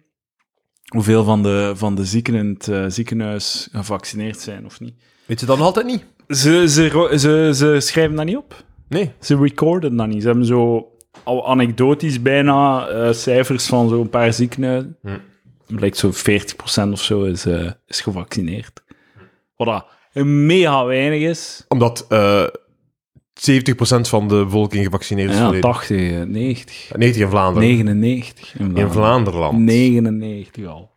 Speaker 1: hoeveel van de, van de zieken in het eh, ziekenhuis gevaccineerd zijn of niet.
Speaker 2: Weet je dan nog altijd niet?
Speaker 1: Ze, ze, ro- ze, ze schrijven dat niet op.
Speaker 2: Nee.
Speaker 1: Ze recorden dat niet. Ze hebben zo al anekdotisch bijna eh, cijfers van zo'n paar ziekenhuizen.
Speaker 2: Hm.
Speaker 1: Blijkt zo 40% of zo is, eh, is gevaccineerd. Wat dat mega weinig is.
Speaker 2: Omdat eh 70% van de bevolking gevaccineerd is.
Speaker 1: Ja,
Speaker 2: verleden.
Speaker 1: 80, eh, 90,
Speaker 2: 90 in Vlaanderen.
Speaker 1: 99. In
Speaker 2: In
Speaker 1: Vlaanderen.
Speaker 2: Vlaanderland.
Speaker 1: 99 al.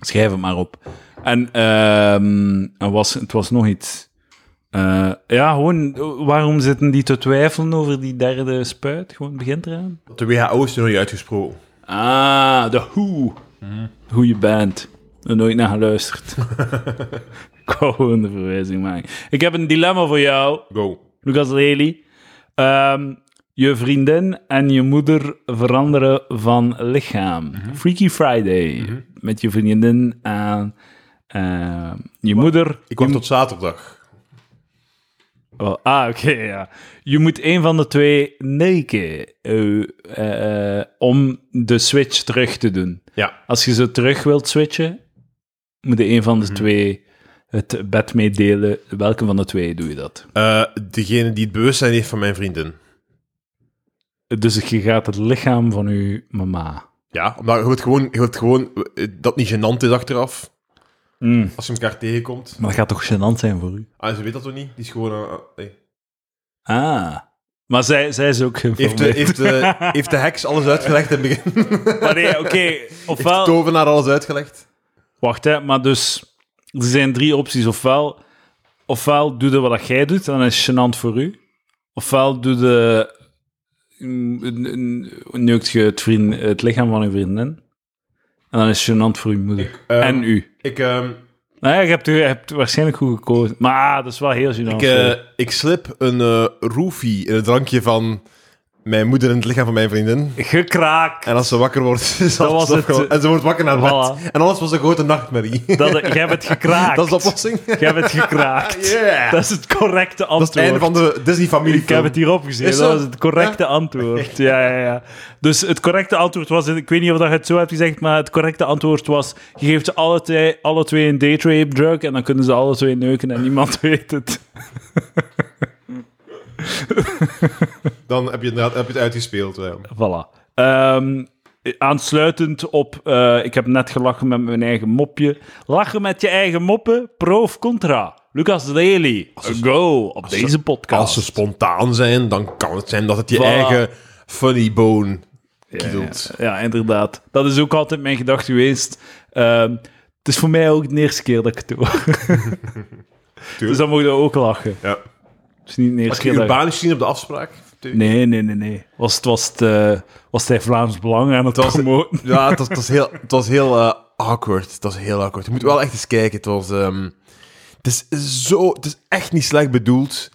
Speaker 1: Schrijf het maar op. En ehm, er was, het was nog iets. Eh, ja, gewoon, eh, waarom zitten die te twijfelen over die derde spuit? Gewoon begint eraan.
Speaker 2: De WHO is er nog niet uitgesproken.
Speaker 1: Ah, de Who. Goeie band. Er nooit naar geluisterd. Ik wou gewoon de verwijzing maken. Ik heb een dilemma voor jou.
Speaker 2: Go.
Speaker 1: Lucas Lely. Ehm, je vriendin en je moeder veranderen van lichaam. Freaky Friday. Met je vriendin en ehm, je moeder.
Speaker 2: Ik wacht tot zaterdag.
Speaker 1: Oh, ah, oké, ja. Je moet een van de twee neken eh, eh, eh, om de switch terug te doen.
Speaker 2: Ja.
Speaker 1: Als je ze terug wilt switchen, moet je een van de
Speaker 2: Mhm.
Speaker 1: twee het bed meedelen. Welke van de twee doe je dat?
Speaker 2: Eh, degene die het bewustzijn heeft van mijn vriendin.
Speaker 1: Dus je gaat het lichaam van je mama.
Speaker 2: Ja, omdat je wilt gewoon, je wilt gewoon eh, dat het niet gênant is achteraf.
Speaker 1: Mm,
Speaker 2: Als je elkaar tegenkomt.
Speaker 1: Maar dat gaat toch gênant zijn voor u?
Speaker 2: Ah, ze weet dat toch niet? Die is gewoon... eh, eh, nee.
Speaker 1: Ah. Maar zij, zij is ook
Speaker 2: heeft,
Speaker 1: geïnformeerd.
Speaker 2: de, heeft, de, heeft de heks alles uitgelegd in het begin?
Speaker 1: Maar nee, oké.
Speaker 2: [laughs] Heeft de
Speaker 1: Ofwel...
Speaker 2: tovenaar alles uitgelegd?
Speaker 1: Wacht, hè. Maar dus... Er zijn drie opties. Ofwel, ofwel doe je wat dat jij doet, dan is het gênant voor u. Ofwel doe mm, de... Neukt je het, vriend, het lichaam van uw vriendin. En dan is het gênant voor uw moeder.
Speaker 2: Ehm,
Speaker 1: en u.
Speaker 2: Ik, ehm,
Speaker 1: Nou ja, je hebt, je hebt waarschijnlijk goed gekozen. Maar ah, dat is wel heel gênant.
Speaker 2: ik,
Speaker 1: voor u.
Speaker 2: eh, ik slip een eh roofie in het drankje van mijn moeder in het lichaam van mijn vriendin.
Speaker 1: Gekraakt.
Speaker 2: En als ze wakker wordt, [laughs] is
Speaker 1: Dat
Speaker 2: alles
Speaker 1: was het,
Speaker 2: opgelost.
Speaker 1: eh,
Speaker 2: En ze wordt wakker naar
Speaker 1: voilà.
Speaker 2: bed. En alles was een grote nachtmerrie. [laughs]
Speaker 1: Dat, jij hebt het gekraakt.
Speaker 2: Dat is de oplossing. [laughs]
Speaker 1: Jij hebt het gekraakt.
Speaker 2: Yeah.
Speaker 1: Dat is het correcte
Speaker 2: Dat is
Speaker 1: antwoord.
Speaker 2: het einde van de Disney-familie.
Speaker 1: Ik heb het hierop gezien.
Speaker 2: Is
Speaker 1: Dat
Speaker 2: zo?
Speaker 1: was het correcte antwoord. Ja, ja, ja. Dus het correcte antwoord was... Ik weet niet of dat je het zo hebt gezegd, maar het correcte antwoord was... Je geeft ze alle twee, alle twee een daytrape drug en dan kunnen ze alle twee neuken en niemand [laughs] weet het.
Speaker 2: Dan heb je, inderdaad- heb je het uitgespeeld. ja.
Speaker 1: Voilà. Ehm, aansluitend op... eh, ik heb net gelachen met mijn eigen mopje. Lachen met je eigen moppen, pro of contra? Lucas Lely, go op deze podcast.
Speaker 2: Als ze spontaan zijn, dan kan het zijn dat het je
Speaker 1: Voilà.
Speaker 2: eigen funny bone
Speaker 1: Ja,
Speaker 2: kietelt.
Speaker 1: Ja, ja, inderdaad. Dat is ook altijd mijn gedachte geweest. Ehm, het is voor mij ook de eerste keer dat ik het doe. dus dan mogen we ook lachen.
Speaker 2: Ja.
Speaker 1: Het is niet de
Speaker 2: Had
Speaker 1: eerste
Speaker 2: je
Speaker 1: keer dat ik-
Speaker 2: Urbanus gezien op de afspraak?
Speaker 1: Nee, nee, nee, nee. Was het, was het, eh, was hij Vlaams Belang aan het
Speaker 2: was-
Speaker 1: promoten?
Speaker 2: Ja, het was, het was heel, het was heel eh, awkward. Het was heel awkward. Je moet wel echt eens kijken. Het was... ehm, het is zo... Het is echt niet slecht bedoeld.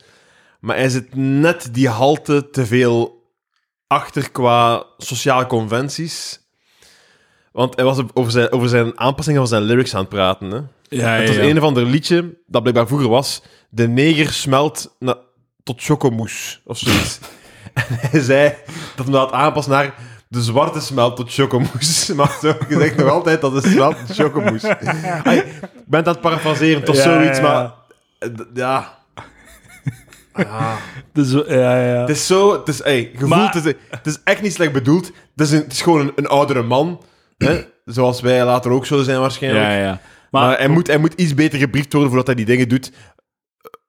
Speaker 2: Maar hij zit net die halte te veel achter qua sociale conventies. Want hij was over zijn, over zijn aanpassingen van zijn lyrics aan het praten, hè.
Speaker 1: Ja,
Speaker 2: Het was een of ander liedje dat blijkbaar vroeger was. De neger smelt na- tot chocomousse of zoiets. [laughs] en hij zei dat hem dat aanpast naar de zwarte smelt tot chocomousse. [laughs] Maar zo gezegd nog altijd dat het smelt tot
Speaker 1: [laughs]
Speaker 2: chocomousse. Ai, Ik ben het aan het parafraseren tot
Speaker 1: Ja,
Speaker 2: zoiets,
Speaker 1: ja,
Speaker 2: maar
Speaker 1: ja.
Speaker 2: eh, d- ja. Ja.
Speaker 1: Dus, ja, ja.
Speaker 2: Het is zo, het is, ey, gevoeld,
Speaker 1: Maar-
Speaker 2: het, is, het is echt niet slecht bedoeld. Het is, een- het is gewoon een, een oudere man, hè? zoals wij later ook zullen zijn waarschijnlijk.
Speaker 1: ja, ja.
Speaker 2: Maar,
Speaker 1: Maar,
Speaker 2: hij, moet, hij moet iets beter gebriefd worden voordat hij die dingen doet. eh,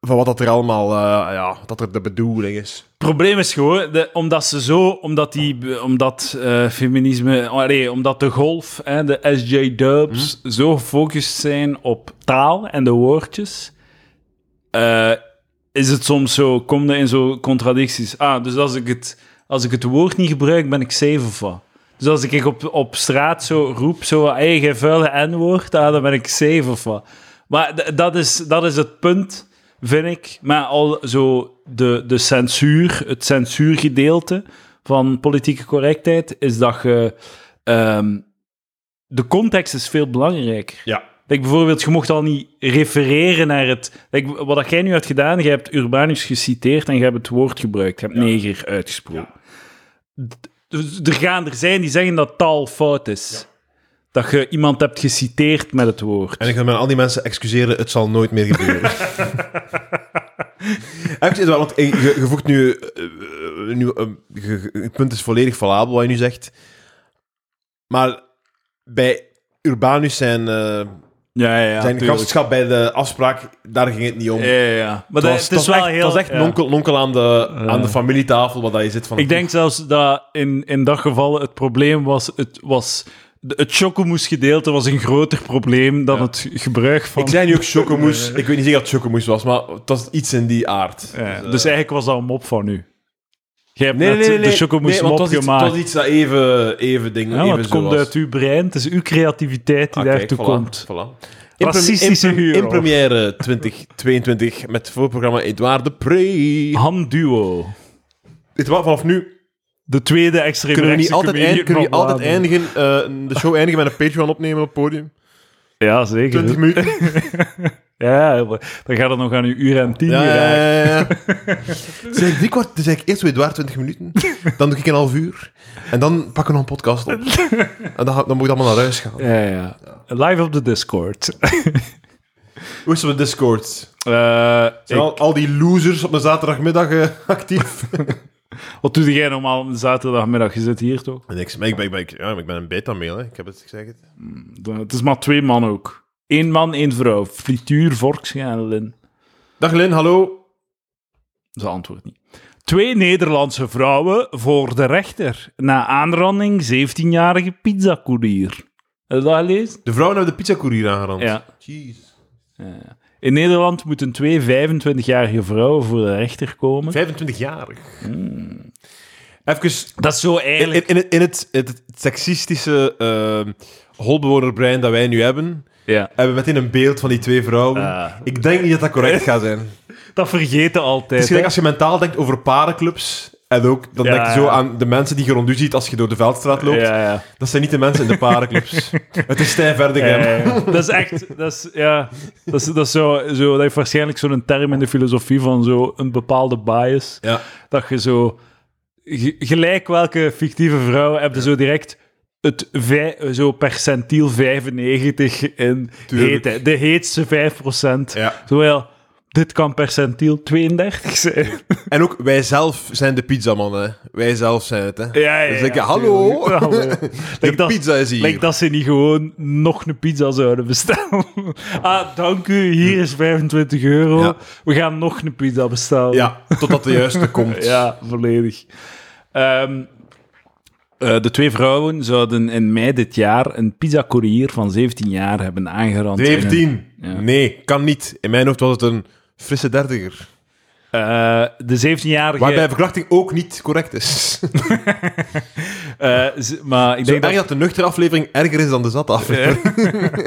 Speaker 2: Van wat dat er allemaal, eh, ja, dat er de bedoeling is.
Speaker 1: Het probleem is gewoon, de- omdat ze zo, omdat die, omdat eh, feminisme, oh, nee, omdat de golf, hè, de SJ-dubs, zo gefocust zijn op taal en de woordjes, eh, is het soms zo, kom je in zo contradicties. Ah, dus als ik het, als ik het woord niet gebruik, ben ik zeven van. Dus als ik op, op straat zo roep, zo, hey, jij vuile N-woord, ah, dan ben ik zeven van. Maar d- dat is, dat is het punt, vind ik. Maar al zo de, de censuur, het censuurgedeelte van politieke correctheid, is dat je... ehm, de context is veel belangrijker.
Speaker 2: Ja.
Speaker 1: Like bijvoorbeeld, je mocht al niet refereren naar het... Like, wat dat jij nu hebt gedaan, je hebt Urbanus geciteerd en je hebt het woord gebruikt. Je hebt neger uitgesproken. D- Dus er gaan er zijn die zeggen dat taal fout is. Dat je iemand hebt geciteerd met het woord.
Speaker 2: En ik wil met al die mensen excuseren, het zal nooit meer
Speaker 1: [laughs]
Speaker 2: gebeuren. Echt, is wel, want eh, je, je voegt nu... eh, eh, nu eh, je- je- het punt is volledig valabel wat je nu zegt. Maar bij Urbanus zijn, eh,
Speaker 1: Ja, ja, ja.
Speaker 2: zijn
Speaker 1: tuurlijk.
Speaker 2: gastschap bij de afspraak, daar ging het niet om.
Speaker 1: Ja, ja, ja. Maar
Speaker 2: Het
Speaker 1: dat-
Speaker 2: was,
Speaker 1: het is wel
Speaker 2: echt,
Speaker 1: heel...
Speaker 2: het was echt
Speaker 1: ja.
Speaker 2: nonkel, nonkel aan, de, aan de familietafel wat hij zit van...
Speaker 1: Ik denk zelfs dat in, in dat geval het probleem was... Het, was de- het chocomoes-gedeelte was een groter probleem dan het gebruik van...
Speaker 2: Ik zei nu ook chocomousse.
Speaker 1: [laughs]
Speaker 2: Ik weet niet zeker dat het chocomousse was, maar het was iets in die aard.
Speaker 1: Ja, dus
Speaker 2: eh,
Speaker 1: eigenlijk was dat een mop van u. Jij hebt net de chocomousse
Speaker 2: want
Speaker 1: mop
Speaker 2: het was iets,
Speaker 1: gemaakt.
Speaker 2: Het was iets dat even, even ding,
Speaker 1: Ja, want
Speaker 2: even
Speaker 1: het
Speaker 2: zo
Speaker 1: komt
Speaker 2: was.
Speaker 1: uit uw brein. Het is uw creativiteit die
Speaker 2: Ah, kijk,
Speaker 1: daartoe
Speaker 2: voilà,
Speaker 1: komt.
Speaker 2: Voilà.
Speaker 1: Racistische
Speaker 2: in, pre- in,
Speaker 1: huur,
Speaker 2: pre- in
Speaker 1: hoor. [laughs]
Speaker 2: première 2022 met voorprogramma Edouard de Pre.
Speaker 1: Ham Duo.
Speaker 2: Weet je wat, vanaf nu
Speaker 1: De tweede extra
Speaker 2: kunnen we niet altijd, eind, kunnen we niet altijd eindigen, eh, de show eindigen met een Patreon opnemen op het podium.
Speaker 1: Ja, zeker.
Speaker 2: 20 minuten.
Speaker 1: Ja, maar dan gaat het nog aan uw uur en tien
Speaker 2: Ja, ja,
Speaker 1: geraken.
Speaker 2: ja, ja. Het [laughs] is eigenlijk drie kwart. Het is eigenlijk eerst weer Edouard 20 minuten. Dan doe ik een half uur. En dan pakken we nog een podcast op. En dan, ga- dan moet ik allemaal naar huis gaan.
Speaker 1: Ja, ja. Live op de Discord. [laughs]
Speaker 2: Hoe is het met Discord?
Speaker 1: Eh,
Speaker 2: Zijn al, al die losers op een zaterdagmiddag eh, [laughs] actief?
Speaker 1: wat doe jij normaal op een zaterdagmiddag? Je zit hier toch?
Speaker 2: Niks. Maar ik ben, ik ben, ja, maar ik ben een beta-mail, hè. Ik heb het gezegd.
Speaker 1: Het is maar twee man ook. Eén man, één vrouw. Frituur, vorkschalen.
Speaker 2: Dag Lin, hallo.
Speaker 1: Ze antwoordt niet. Twee Nederlandse vrouwen voor de rechter. Na aanranding 17-jarige pizzacourier. Heb je dat gelezen?
Speaker 2: De vrouwen hebben de pizzacourier aangerand.
Speaker 1: Ja.
Speaker 2: Jeez.
Speaker 1: In Nederland moeten twee 25-jarige vrouwen voor de rechter komen.
Speaker 2: 25-jarig. Hmm. Even
Speaker 1: Dat is zo eigenlijk...
Speaker 2: in, in, in het, in het, het, het seksistische eh, holbewonerbrein dat wij nu hebben,
Speaker 1: Ja.
Speaker 2: hebben we meteen een beeld van die twee vrouwen.
Speaker 1: Ah.
Speaker 2: Ik denk niet dat dat correct gaat
Speaker 1: [laughs]
Speaker 2: zijn. Het
Speaker 1: Dat vergeten
Speaker 2: is
Speaker 1: altijd.
Speaker 2: gelijk als je mentaal denkt over parenclubs, en ook, dan
Speaker 1: Ja,
Speaker 2: denk je zo
Speaker 1: ja.
Speaker 2: aan de mensen die je rond u ziet als je door de veldstraat
Speaker 1: hè.
Speaker 2: loopt.
Speaker 1: Ja, ja.
Speaker 2: Dat zijn niet de mensen in de
Speaker 1: [laughs]
Speaker 2: parenclubs. het is Stijn Verdegem.
Speaker 1: Ja, ja, ja. Dat is echt, dat is, ja, dat is, dat is zo, zo, dat heeft waarschijnlijk zo'n term in de filosofie van zo een bepaalde bias.
Speaker 2: Ja.
Speaker 1: Dat je zo, ge- gelijk welke fictieve vrouw heb je zo direct het vij- zo percentiel 95 in
Speaker 2: Tuurlijk.
Speaker 1: hete, de heetste 5%.
Speaker 2: Ja.
Speaker 1: Terwijl, dit kan percentiel 32
Speaker 2: [laughs]
Speaker 1: zijn.
Speaker 2: En ook wij zelf zijn de pizzamannen. hè. Wij zelf zijn het. Hè.
Speaker 1: Ja, ja,
Speaker 2: dus ik,
Speaker 1: ja,
Speaker 2: hallo,
Speaker 1: tuurlijk. [laughs] Hallo.
Speaker 2: de
Speaker 1: Like dat-
Speaker 2: pizza is hier.
Speaker 1: Lijkt dat ze niet gewoon nog een pizza zouden bestellen. [laughs] ah, dank u, hier is 25 euro.
Speaker 2: Ja.
Speaker 1: We gaan nog een pizza bestellen.
Speaker 2: Ja, totdat de juiste komt.
Speaker 1: Ja, volledig. Ehm, eh, de twee vrouwen zouden in mei dit jaar een pizzacourier van 17 jaar hebben aangerand. in een-
Speaker 2: 17.
Speaker 1: Ja.
Speaker 2: Nee, kan niet. In mijn hoofd was het een frisse dertiger.
Speaker 1: Eh, de 17-jarige...
Speaker 2: Waarbij verkrachting ook niet correct is.
Speaker 1: eh, ze- maar ik
Speaker 2: [laughs] Zo
Speaker 1: denk
Speaker 2: erg
Speaker 1: dat
Speaker 2: dat... de nuchtere aflevering erger is dan de zatte aflevering.
Speaker 1: [laughs]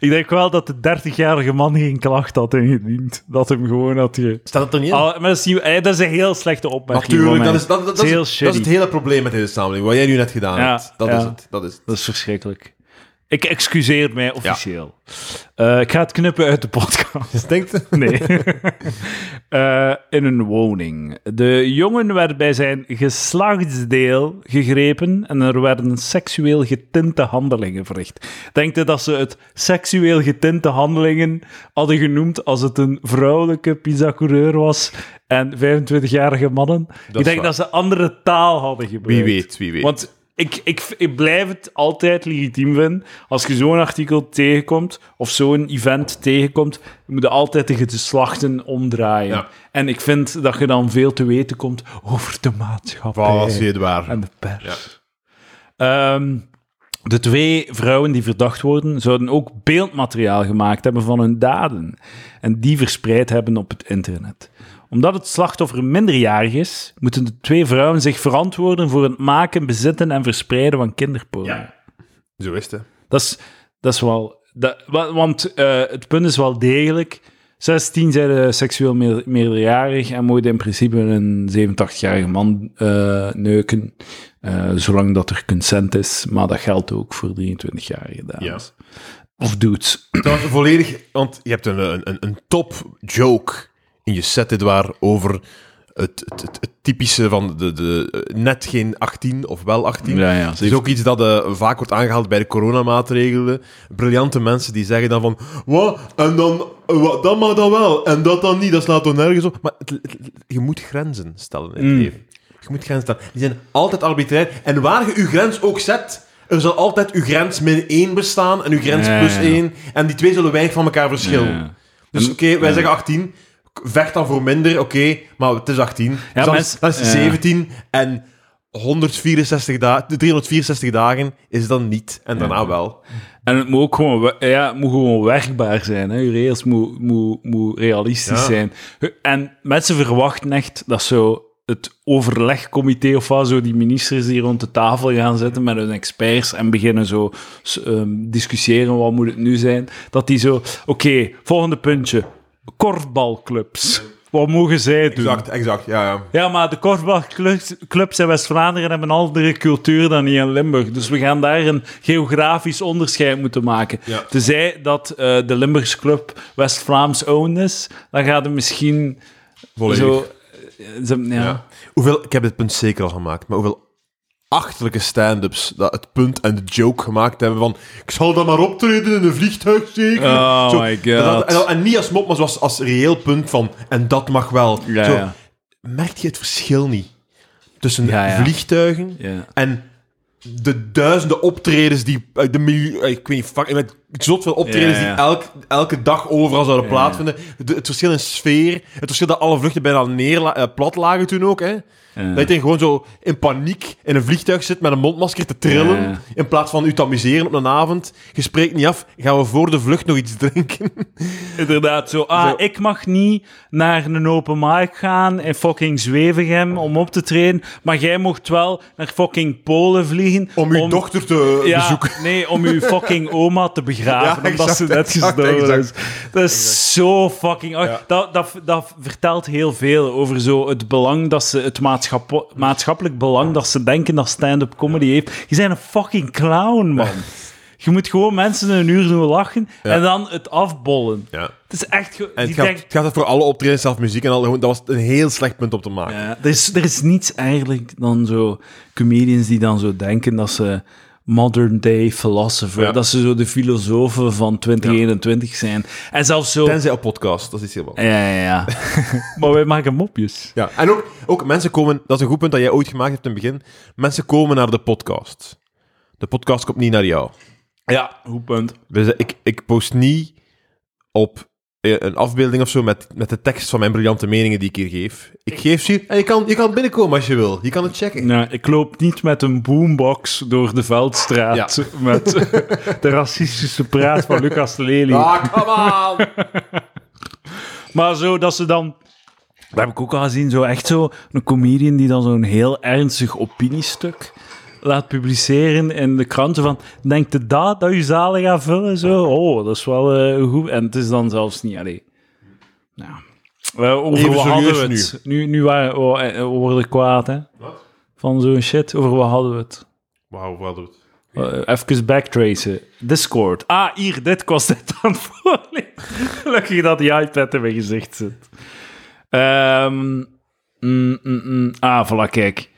Speaker 1: Ik denk wel dat de 30-jarige man geen klacht had ingediend. Dat hem gewoon had ge...
Speaker 2: Staat dat er niet
Speaker 1: Ah, maar dat is, niet- eh, dat is een heel slechte opmerking.
Speaker 2: Natuurlijk,
Speaker 1: van
Speaker 2: dat
Speaker 1: mij.
Speaker 2: is, dat, dat, dat
Speaker 1: heel
Speaker 2: is, dat is
Speaker 1: shitty.
Speaker 2: het hele probleem met deze samenleving. Wat jij nu net gedaan
Speaker 1: Ja,
Speaker 2: hebt. Dat
Speaker 1: ja.
Speaker 2: is het. Dat is het.
Speaker 1: Dat is verschrikkelijk. Ik excuseer mij officieel. Eh, ik ga het knippen uit de podcast.
Speaker 2: Dus
Speaker 1: [laughs]
Speaker 2: denkt,
Speaker 1: Nee. Eh, in een woning. De jongen werd bij zijn geslachtsdeel gegrepen en er werden seksueel getinte handelingen verricht. Denk je dat ze het seksueel getinte handelingen hadden genoemd als het een vrouwelijke pizzacoureur was en 25-jarige mannen?
Speaker 2: is
Speaker 1: Ik denk
Speaker 2: waar.
Speaker 1: dat ze andere taal hadden gebruikt.
Speaker 2: wie weet, wie weet.
Speaker 1: Want ik, ik, ik blijf het altijd legitiem vinden. Als je zo'n artikel tegenkomt, of zo'n event tegenkomt, je moet je altijd de geslachten omdraaien.
Speaker 2: Ja.
Speaker 1: En ik vind dat je dan veel te weten komt over de maatschappij
Speaker 2: Voilà, zie je het waar.
Speaker 1: en de pers. Ehm, de twee vrouwen die verdacht worden, zouden ook beeldmateriaal gemaakt hebben van hun daden. En die verspreid hebben op het internet. Omdat het slachtoffer minderjarig is, moeten de twee vrouwen zich verantwoorden voor het maken, bezitten en verspreiden van kinderporno.
Speaker 2: Zo is het. hè.
Speaker 1: Dat is, dat is wel. Dat, wa- want eh, het punt is wel degelijk. 16 zijn eh, seksueel meer- meerderjarig en mogen in principe een 87-jarige man eh, neuken. eh, zolang dat er consent is. Maar dat geldt ook voor 23-jarige dames. Of dudes.
Speaker 2: Trouwens, volledig, want je hebt een, een, een- een top joke in je set, dit waar, over het, het, het, het typische van de, de eh, net geen 18 of wel 18.
Speaker 1: Ja, ja.
Speaker 2: Het is ook iets dat eh, vaak wordt aangehaald bij de coronamaatregelen. Briljante mensen die zeggen dan van, wat? En dan, eh, wat, dat mag dan wel, en dat dan niet, dat slaat toch nergens op. Maar het- het- je moet grenzen stellen in het
Speaker 1: Mm.
Speaker 2: leven. Je moet grenzen stellen. Die zijn altijd arbitrair. En waar je je grens ook zet, er zal altijd je grens min 1 bestaan en je grens
Speaker 1: Ja, ja,
Speaker 2: plus
Speaker 1: ja.
Speaker 2: 1. En die twee zullen weinig van elkaar verschillen.
Speaker 1: Ja.
Speaker 2: Dus oké, wij zeggen 18. k- Vecht dan voor minder, oké. maar het is 18. dus dan,
Speaker 1: mensen-
Speaker 2: dan is het
Speaker 1: ja.
Speaker 2: 17. En 164 da 364 dagen is dan niet. En daarna wel.
Speaker 1: En het moet ook gewoon, we- ja, het moet gewoon werkbaar zijn. Hè. Je regels moet, moet, moet realistisch
Speaker 2: Ja.
Speaker 1: zijn. En mensen verwachten echt dat zo het overlegcomité of wat, zo die ministers die rond de tafel gaan zitten met hun experts en beginnen zo s- ehm, discussiëren wat moet het nu zijn, dat die zo, oké, volgende puntje, korfbalclubs. Wat mogen zij doen?
Speaker 2: Exact, exact. Ja, ja.
Speaker 1: Ja, maar de korfbalclubs in West-Vlaanderen hebben een andere cultuur dan hier in Limburg. Dus we gaan daar een geografisch onderscheid moeten maken.
Speaker 2: Ja.
Speaker 1: Tenzij dat eh, de Limburgse club West-Vlaams owned is, dan gaat het misschien
Speaker 2: Volledig.
Speaker 1: zo... eh, ze- ja.
Speaker 2: Ja. Hoeveel, ik heb dit punt zeker al gemaakt, maar hoeveel achterlijke stand-ups dat het punt en de joke gemaakt hebben van ik zal dan maar optreden in een vliegtuig zeker.
Speaker 1: Oh my God.
Speaker 2: dat- en, en niet als mop, maar zoals als reëel punt van en dat mag wel.
Speaker 1: Ja,
Speaker 2: Zo,
Speaker 1: ja.
Speaker 2: merk je het verschil niet tussen
Speaker 1: Ja, ja.
Speaker 2: vliegtuigen
Speaker 1: Ja.
Speaker 2: en de duizenden optredens die uit de miljoen, ik weet niet, fuck, met zot veel optredens
Speaker 1: Ja, ja.
Speaker 2: die elk, elke dag overal zouden
Speaker 1: Ja.
Speaker 2: plaatsvinden. De- het verschil in sfeer, het verschil dat alle vluchten bijna neerla, eh, plat lagen toen ook, hè. Dat je tegen gewoon zo in paniek in een vliegtuig zit met een mondmasker te trillen,
Speaker 1: Ja.
Speaker 2: in plaats van u te amuseren op een avond. Je spreekt niet af, gaan we voor de vlucht nog iets drinken?
Speaker 1: Inderdaad, zo. Ah,
Speaker 2: Zo.
Speaker 1: ik mag niet naar een open mic gaan in fucking Zwevegem om op te treden. Maar jij mocht wel naar fucking Polen vliegen.
Speaker 2: [laughs] Om uw dochter te
Speaker 1: ja,
Speaker 2: bezoeken.
Speaker 1: Nee, om uw fucking oma te begraven.
Speaker 2: [laughs] Ja,
Speaker 1: omdat
Speaker 2: exact,
Speaker 1: ze net
Speaker 2: exact,
Speaker 1: gestorven is.
Speaker 2: exact.
Speaker 1: Dat is zo fucking. ach-
Speaker 2: Ja.
Speaker 1: Dat, dat, dat vertelt heel veel over zo het belang dat ze. Het maatschappelijk, maatschappelijk belang dat ze denken dat stand-up comedy heeft. Je bent een fucking clown, man. Je moet gewoon mensen een uur doen lachen en dan het afbollen.
Speaker 2: Ja.
Speaker 1: Het is echt. ge-
Speaker 2: En het
Speaker 1: die
Speaker 2: gaat,
Speaker 1: denk-
Speaker 2: het gaat voor alle optredens, zelf muziek en al, gewoon- dat was een heel slecht punt om te maken.
Speaker 1: Ja, er, is, er is niets eigenlijk dan zo comedians die dan zo denken dat ze modern day philosopher,
Speaker 2: Ja.
Speaker 1: dat ze zo de filosofen van 2021 zijn. En zelfs zo.
Speaker 2: Tenzij op podcast, dat is iets heel wat.
Speaker 1: Ja, ja, [laughs] ja. maar wij maken mopjes.
Speaker 2: Ja, en ook, ook mensen komen, dat is een goed punt dat jij ooit gemaakt hebt in het begin. Mensen komen naar de podcast. De podcast komt niet naar jou.
Speaker 1: Ja, goed punt.
Speaker 2: Dus ik, ik post niet op eh, een afbeelding of zo met, met de tekst van mijn briljante meningen die ik hier geef. Ik geef ze hier en je kan, je kan binnenkomen als je wil. Je kan het checken.
Speaker 1: Nou, ik loop niet met een boombox door de veldstraat [laughs] met de racistische praat van Lucas Lely.
Speaker 2: Ah, come on!
Speaker 1: Maar zo dat ze dan. Dat heb ik ook al gezien, zo echt zo. Een comedian die dan zo'n heel ernstig opiniestuk laat publiceren in de kranten. Van, denkt je dat, dat je zalen gaat vullen? Zo, oh, dat is wel eh, goed. En het is dan zelfs niet, allee. Nou, we, over
Speaker 2: Even
Speaker 1: wat hadden we
Speaker 2: serieus
Speaker 1: het? Nu, nu, waren, oh, eh, we worden kwaad, hè?
Speaker 2: Wat?
Speaker 1: Van zo'n shit, over wat hadden we het?
Speaker 2: [laughs] Wauw, wat doet
Speaker 1: Eh, even backtracen. Discord. Ah, hier, dit kost het [laughs] aan het voorlezen. Gelukkig dat die iPad in mijn gezicht zit. Ehm, mm, mm, mm. Ah, voilà, kijk.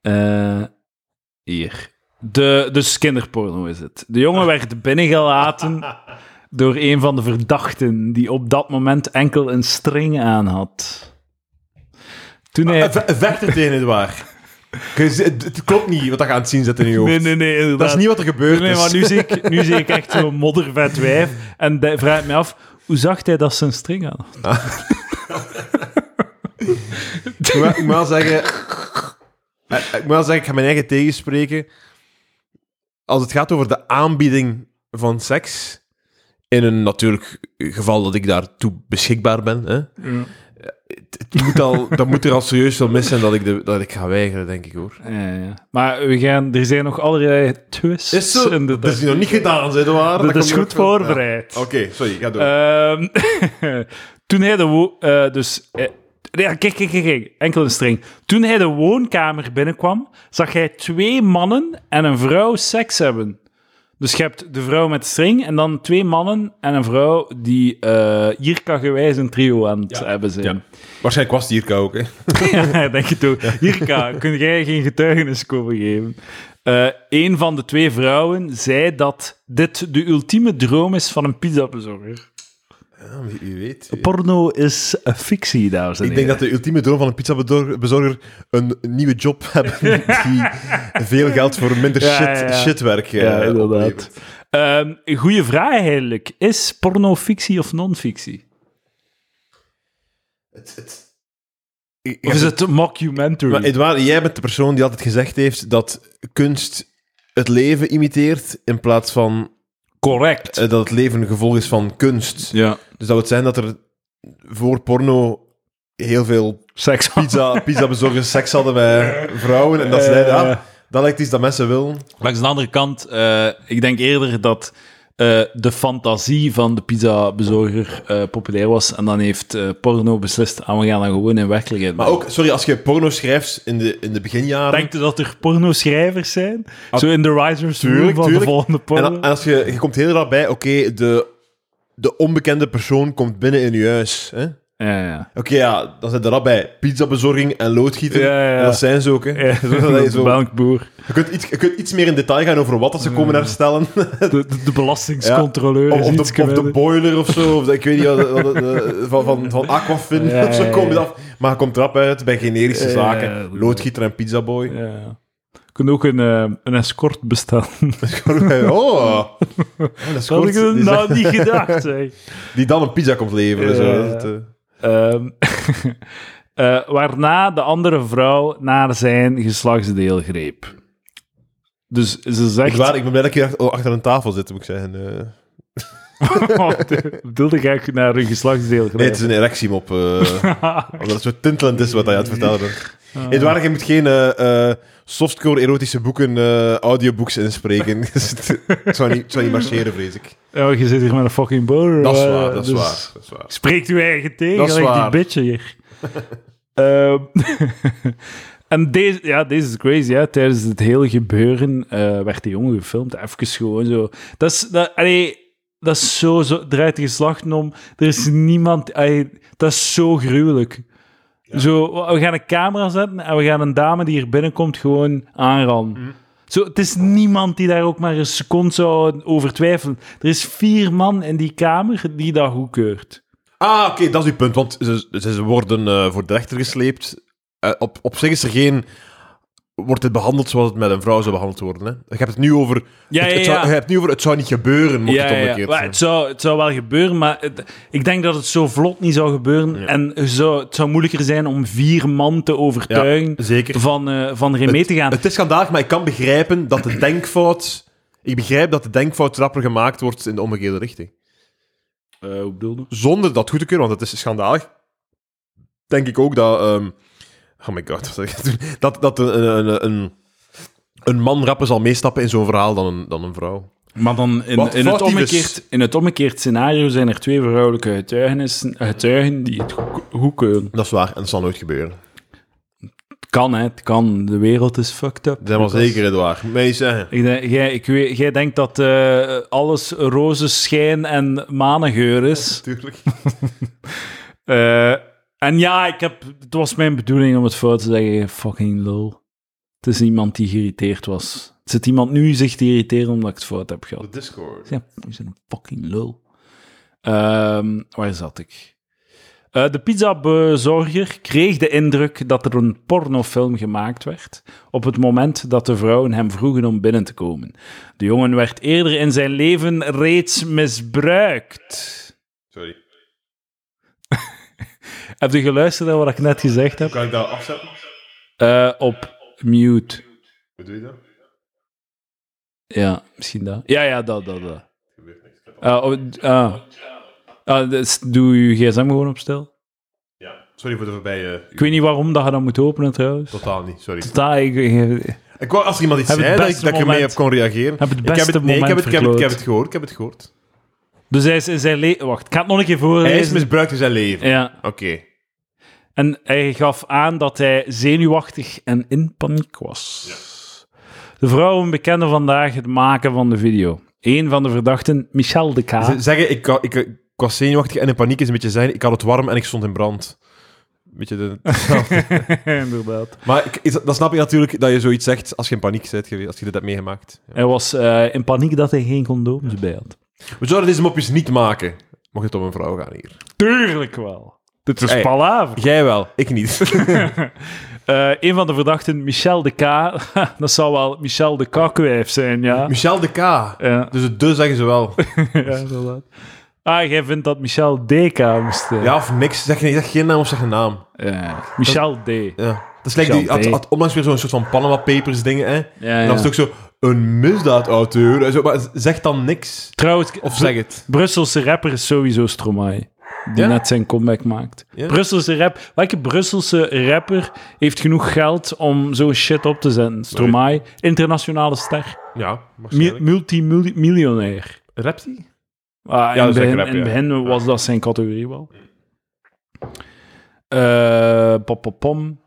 Speaker 1: Eh, hier. De, dus kinderporno is het. De
Speaker 2: [laughs]
Speaker 1: jongen werd binnengelaten door een van de verdachten die op dat moment enkel een string aan had.
Speaker 2: Ah,
Speaker 1: Toen hij...
Speaker 2: Vechten tegen Eh, het [laughs] waar. Je z- Het het klopt niet wat dat je aan het zien zit in je hoofd.
Speaker 1: Nee, nee, nee.
Speaker 2: Dat is
Speaker 1: inderdaad.
Speaker 2: niet wat er gebeurd
Speaker 1: Nee,
Speaker 2: is.
Speaker 1: maar nu zie ik, nu zie ik echt zo'n moddervet wijf. En de- vraag ik me af, hoe zag hij dat zijn string aan? had?
Speaker 2: Ik moet- ik moet wel zeggen... eh, Ik moet wel zeggen, ik ga mijn eigen tegenspreken. Als het gaat over de aanbieding van seks... In een natuurlijk geval dat ik daartoe beschikbaar ben. Hè,
Speaker 1: Mm.
Speaker 2: het, het moet al, dat moet er al serieus wel mis zijn dat ik, de, dat ik ga weigeren, denk ik hoor.
Speaker 1: Ja, ja. Maar we gaan, er zijn nog allerlei twists.
Speaker 2: Is zo?
Speaker 1: in de-
Speaker 2: Dat is nog niet gedaan, zei de waar.
Speaker 1: dat
Speaker 2: komt
Speaker 1: is
Speaker 2: er
Speaker 1: goed
Speaker 2: ook wel-
Speaker 1: voorbereid.
Speaker 2: Ja. Oké, sorry, ga door.
Speaker 1: Ehm, [laughs] toen hij de... wo- eh, dus... eh, ja, kijk, kijk, kijk, kijk. Enkel een string. Toen hij de woonkamer binnenkwam, zag hij twee mannen en een vrouw seks hebben. Dus je hebt de vrouw met de string en dan twee mannen en een vrouw die eh Jirka-gewijs een trio aan het hebben zijn.
Speaker 2: Ja. Waarschijnlijk was die hier ook, hè.
Speaker 1: Ja, [laughs] denk je toch. Jirka, kun jij geen getuigenis komen geven? Eh een van de twee vrouwen zei dat dit de ultieme droom is van een pizzabezorger.
Speaker 2: Ja, Ah, wie, wie weet.
Speaker 1: Porno is een fictie, dames en
Speaker 2: Ik denk
Speaker 1: heren.
Speaker 2: dat de ultieme droom van een pizzabezorger een nieuwe job
Speaker 1: [laughs]
Speaker 2: hebben die veel geld voor minder
Speaker 1: Ja,
Speaker 2: shit,
Speaker 1: ja, ja.
Speaker 2: shitwerk eh,
Speaker 1: Ja, inderdaad.
Speaker 2: oplevert.
Speaker 1: Ehm, Een goede vraag eigenlijk. Is porno fictie of non-fictie?
Speaker 2: Het- het- Ik- ik-
Speaker 1: Of is het een mockumentary?
Speaker 2: Maar Edouard, jij bent de persoon die altijd gezegd heeft dat kunst het leven imiteert in plaats van
Speaker 1: Correct.
Speaker 2: eh, dat het leven een gevolg is van kunst.
Speaker 1: ja.
Speaker 2: Dus dat het zijn dat er voor porno heel veel
Speaker 1: Seks. [laughs]
Speaker 2: pizza, pizzabezorgers seks hadden bij vrouwen. En dat is
Speaker 1: Eh.
Speaker 2: ja, dat lijkt iets dat mensen willen.
Speaker 1: Langs de andere kant, eh, ik denk eerder dat eh, de fantasie van de pizzabezorger eh, populair was. En dan heeft eh, porno beslist, ah, we gaan dan gewoon in werkelijkheid
Speaker 2: Maar
Speaker 1: maken.
Speaker 2: ook, sorry, als je porno schrijft in de, in de beginjaren...
Speaker 1: Denkt u dat er pornoschrijvers zijn?
Speaker 2: Ah,
Speaker 1: Zo in de writers' room
Speaker 2: tuurlijk,
Speaker 1: van de
Speaker 2: tuurlijk.
Speaker 1: volgende
Speaker 2: en,
Speaker 1: porno?
Speaker 2: dan- en als je, je komt heel erg bij, oké, de, de onbekende persoon komt binnen in je huis. Hè? Oké,
Speaker 1: ja, [laughs] ja.
Speaker 2: ja, dan zit er rap bij pizzabezorging en loodgieten.
Speaker 1: Ja, ja, ja.
Speaker 2: En Dat zijn ze ook, hè.
Speaker 1: ja.
Speaker 2: [laughs] Zo dat
Speaker 1: [laughs]
Speaker 2: je,
Speaker 1: de
Speaker 2: zo,
Speaker 1: melkboer.
Speaker 2: je, kunt iets, je kunt iets meer in detail gaan over wat dat ze
Speaker 1: Mm. [laughs]
Speaker 2: komen herstellen.
Speaker 1: De, de, de belastingscontroleur
Speaker 2: Of,
Speaker 1: is
Speaker 2: of
Speaker 1: iets
Speaker 2: de, of de
Speaker 1: geworden.
Speaker 2: boiler of zo. Of de- ik weet niet, wat- wat- wat- eh, van, van, van Aquafin
Speaker 1: [laughs] Ja,
Speaker 2: of zo
Speaker 1: ja,
Speaker 2: kom je
Speaker 1: ja.
Speaker 2: af. Maar je komt rap uit bij generische
Speaker 1: Ja, ja,
Speaker 2: zaken.
Speaker 1: ja, dat-
Speaker 2: Loodgieter en pizzaboy. [laughs]
Speaker 1: Ja. kunt ook een, eh, een escort bestellen.
Speaker 2: oh, dat
Speaker 1: Dat
Speaker 2: is
Speaker 1: had
Speaker 2: goed.
Speaker 1: ik er
Speaker 2: Die,
Speaker 1: nou niet gedacht, zeg.
Speaker 2: die dan een pizza komt leveren.
Speaker 1: Ja,
Speaker 2: zo.
Speaker 1: ja,
Speaker 2: Dat,
Speaker 1: ja.
Speaker 2: eh,
Speaker 1: [laughs] Ehm, [laughs] eh, waarna de andere vrouw naar zijn geslachtsdeel greep. Dus ze
Speaker 2: ik,
Speaker 1: zegt... [laughs]
Speaker 2: waar, ik ben blij dat ik hier achter, achter een tafel zit, moet ik zeggen. eh.
Speaker 1: Oh, Bedoelde ik eigenlijk naar hun geslachtsdeel
Speaker 2: Nee,
Speaker 1: greep?
Speaker 2: het is een
Speaker 1: [laughs]
Speaker 2: erectiemop. eh omdat het zo tintelend is wat hij aan het vertellen bent.
Speaker 1: Ah.
Speaker 2: Edouard, je moet geen eh, eh, softcore erotische boeken, eh audiobooks inspreken. [laughs] Dus het, het zou niet, het zou niet marcheren, vrees ik.
Speaker 1: Ja, Oh, je zit hier met een fucking boer.
Speaker 2: Dat is
Speaker 1: eh,
Speaker 2: waar, dat is
Speaker 1: dus-
Speaker 2: waar. Dat is waar.
Speaker 1: Spreekt uw eigen tegen,
Speaker 2: Dat is
Speaker 1: gelijk
Speaker 2: waar.
Speaker 1: die bitch
Speaker 2: [laughs]
Speaker 1: hier. Ehm, [laughs] en deze, ja, deze is crazy. Hè. Tijdens het hele gebeuren eh, werd die jongen gefilmd. Even gewoon zo. Dat is, dat, allee, dat is zo, zo draait de geslachten om. Er is niemand... allee, dat is zo gruwelijk. Zo, we gaan een camera zetten en we gaan een dame die hier binnenkomt gewoon aanranden.
Speaker 2: Mhm.
Speaker 1: Zo, het is niemand die daar ook maar een seconde zou over twijfelen. Er is vier man in die kamer die dat goedkeurt.
Speaker 2: Ah, oké, dat is uw punt. Want ze, ze worden eh, voor de rechter gesleept. Eh, op, op zich is er geen... Wordt het behandeld zoals het met een vrouw zou behandeld worden? Hè? Je hebt het nu over...
Speaker 1: Ja,
Speaker 2: het,
Speaker 1: ja,
Speaker 2: het zou,
Speaker 1: ja.
Speaker 2: Je hebt het nu over... Het zou niet gebeuren, mocht het omgekeerd
Speaker 1: Maar
Speaker 2: zijn.
Speaker 1: het, zou, het zou wel gebeuren, maar het- ik denk dat het zo vlot niet zou gebeuren. En je zou, het zou moeilijker zijn om vier man te overtuigen
Speaker 2: zeker.
Speaker 1: van, eh van ermee te gaan.
Speaker 2: Het is schandalig, maar ik kan begrijpen dat de denkfout... Ik begrijp dat de denkfout rapper gemaakt wordt in de omgekeerde richting.
Speaker 1: Eh, hoe bedoel je?
Speaker 2: Zonder dat goed te kunnen, want het is schandalig. Denk ik ook dat... ehm, oh my god, wat zeg ik toen? Dat, dat een, een, een, een man rapper zal meestappen in zo'n verhaal dan een, dan een vrouw.
Speaker 1: Maar dan in,
Speaker 2: Wat
Speaker 1: in, het
Speaker 2: fout die
Speaker 1: omgekeerd,
Speaker 2: dus?
Speaker 1: in het omgekeerd scenario zijn er twee vrouwelijke getuigenissen- getuigen die het goed- goedkeuren.
Speaker 2: Dat is waar, en dat zal nooit gebeuren.
Speaker 1: Het kan, hè. Het kan. De wereld is fucked up.
Speaker 2: Dat zijn wel zeker, Edouard. Moet mij niet zeggen.
Speaker 1: Ik denk, jij, ik weet, jij denkt dat eh, alles roze schijn en manengeur is.
Speaker 2: Tuurlijk.
Speaker 1: Eh, en ja, ik heb, het was mijn bedoeling om het fout te zeggen. Fucking lul. Het is iemand die geïrriteerd was. Het zit iemand nu zich te irriteren omdat ik het fout heb gehad.
Speaker 2: De Discord.
Speaker 1: Ja, je bent een fucking lul. Ehm, waar zat ik? Eh, de pizzabezorger kreeg de indruk dat er een pornofilm gemaakt werd op het moment dat de vrouwen hem vroegen om binnen te komen. De jongen werd eerder in zijn leven reeds misbruikt.
Speaker 2: Sorry.
Speaker 1: Heb je geluisterd naar wat ik net gezegd heb?
Speaker 2: Kan ik dat afzetten?
Speaker 1: Eh, op mute.
Speaker 2: Hoe doe je dat?
Speaker 1: Ja, misschien dat. Ja, ja, dat, dat, dat. Eh, oh, ah. Ah, dus doe je gsm gewoon op stil.
Speaker 2: Ja. Sorry voor de voorbije...
Speaker 1: Ik weet niet waarom dat je dat moet openen trouwens.
Speaker 2: Totaal niet, sorry.
Speaker 1: Totaal, ik, ik-
Speaker 2: Ik wou, als er iemand iets
Speaker 1: Heb het
Speaker 2: zei, dat ik,
Speaker 1: beste
Speaker 2: dat ik ermee
Speaker 1: moment.
Speaker 2: heb kon reageren.
Speaker 1: Heb het
Speaker 2: ik heb
Speaker 1: beste
Speaker 2: het, nee, ik heb
Speaker 1: moment
Speaker 2: het, ik heb, het, ik
Speaker 1: verkloot.
Speaker 2: heb het gehoord. Ik heb het gehoord.
Speaker 1: Dus hij is in zijn leven... Wacht, ik ga het nog een keer voorlezen.
Speaker 2: Hij is misbruikt in zijn leven.
Speaker 1: Ja.
Speaker 2: Oké.
Speaker 1: En hij gaf aan dat hij zenuwachtig en in paniek was. De vrouwen bekenden vandaag het maken van de video. Een van de verdachten, Michel de K.
Speaker 2: [laughs] Z- Zeggen, ik, ik, ik, ik was zenuwachtig en in paniek is een beetje zijn. Ik had het warm en ik stond in brand.
Speaker 1: [laughs]
Speaker 2: Beetje de...
Speaker 1: Inderdaad.
Speaker 2: maar ik, is- dat snap ik natuurlijk, dat je zoiets zegt als je in paniek bent geweest, als je dit hebt meegemaakt. Ja.
Speaker 1: Hij was eh, in paniek dat hij geen condooms bij had.
Speaker 2: We zouden deze mopjes niet maken, mocht het om een vrouw gaan hier.
Speaker 1: Tuurlijk wel. Dit is
Speaker 2: Hey.
Speaker 1: palaver.
Speaker 2: Jij wel, ik
Speaker 1: [laughs]
Speaker 2: niet. [laughs]
Speaker 1: Eh, een van de verdachten, Michel de K. [laughs] dat zou wel Michel de Kakwijf zijn,
Speaker 2: [laughs]
Speaker 1: ja.
Speaker 2: Michel de K.
Speaker 1: Ja,
Speaker 2: Dus het de zeggen ze wel.
Speaker 1: ja, inderdaad. Ah, jij vindt dat Michel DK moest... eh,
Speaker 2: Ja of niks. Zeg, zeg geen naam of zeg een naam.
Speaker 1: eh, Michel D.
Speaker 2: Ja. Dat is like
Speaker 1: Michel
Speaker 2: die, had,
Speaker 1: D.
Speaker 2: had onlangs weer zo'n soort van Panama Papers dingen, hè.
Speaker 1: Ja,
Speaker 2: En
Speaker 1: ja.
Speaker 2: dan was het ook zo, een misdaadauteur. en zo, Maar zeg dan niks.
Speaker 1: Trouwens,
Speaker 2: Of zeg het.
Speaker 1: Brusselse rapper is sowieso Stromae. Die
Speaker 2: Ja?
Speaker 1: net zijn comeback maakt.
Speaker 2: Ja.
Speaker 1: Brusselse rap. Welke Brusselse rapper heeft genoeg geld om zo'n shit op te zetten? Stromae, internationale ster.
Speaker 2: Ja,
Speaker 1: Mi-
Speaker 2: waarschijnlijk.
Speaker 1: Multimiljonair.
Speaker 2: Rapt hij?
Speaker 1: Ah, in
Speaker 2: dat
Speaker 1: het
Speaker 2: is
Speaker 1: begin,
Speaker 2: een rap,
Speaker 1: in het
Speaker 2: ja.
Speaker 1: begin was dat zijn categorie wel. Eh, pop, pop, pom.